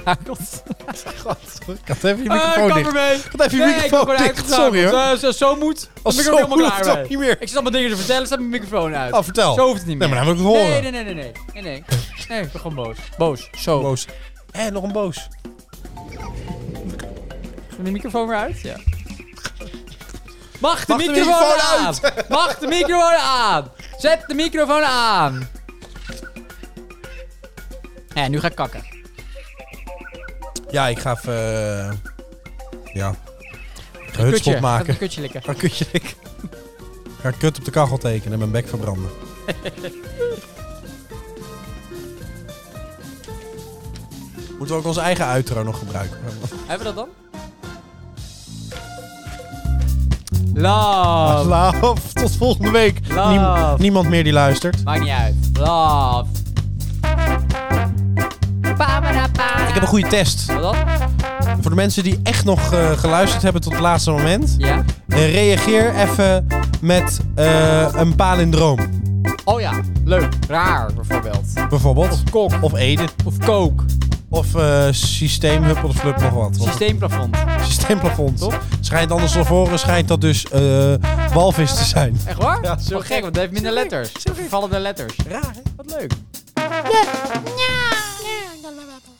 Ja, klopt. Ik had even je Eh, microfoon kap dicht. ermee. Ik had even je Nee, ik heb microfoon gewoon dicht. Sorry hoor. Zo, zo moet. Als Dan zo ben eh, ik er helemaal moet klaar het ook mee. niet meer. Ik zat wat dingen te vertellen, staat mijn microfoon uit. Oh, vertel. Zo hoeft het niet Nee, meer. maar dan wil ik het horen. nee, nee, nee, nee, nee. Nee, nee. Nee, ik ben gewoon boos. Boos. Zo. Boos. Hé, nog een boos. Doe de microfoon weer uit? Ja. Mag de, Mag de microfoon, microfoon aan! Mag de microfoon aan! Zet de microfoon aan! Ja, nu ga ik kakken. Ja, ik ga even... eh, ja. Ik ga hutspot Gaat maken. een kutje likken. Ik Ga kutje likken. Ik Ga kut op de kachel tekenen en mijn bek verbranden. Moeten we ook onze eigen outro nog gebruiken? Hebben we dat dan? Love. Love. Tot volgende week. Love. Niem- niemand meer die luistert. Maakt niet uit. Love. Ik heb een goede test. Wat dan? Voor de mensen die echt nog eh, geluisterd hebben tot het laatste moment. Ja. eh, reageer even met eh, een palindroom. Oh ja. Leuk. Raar bijvoorbeeld. Bijvoorbeeld. Kok. Of Ede. Of kook. Of eh systeemhuppel of flup nog wat. Want Systeemplafond. het systeemplafond. Toch? Schijnt anders naar voren, schijnt dat dus eh walvis te zijn. Echt waar? Ja, zo zo gek, gek. want het heeft minder letters. Vallende letters. Raar hè? Wat leuk. Yeah, yeah, I love it.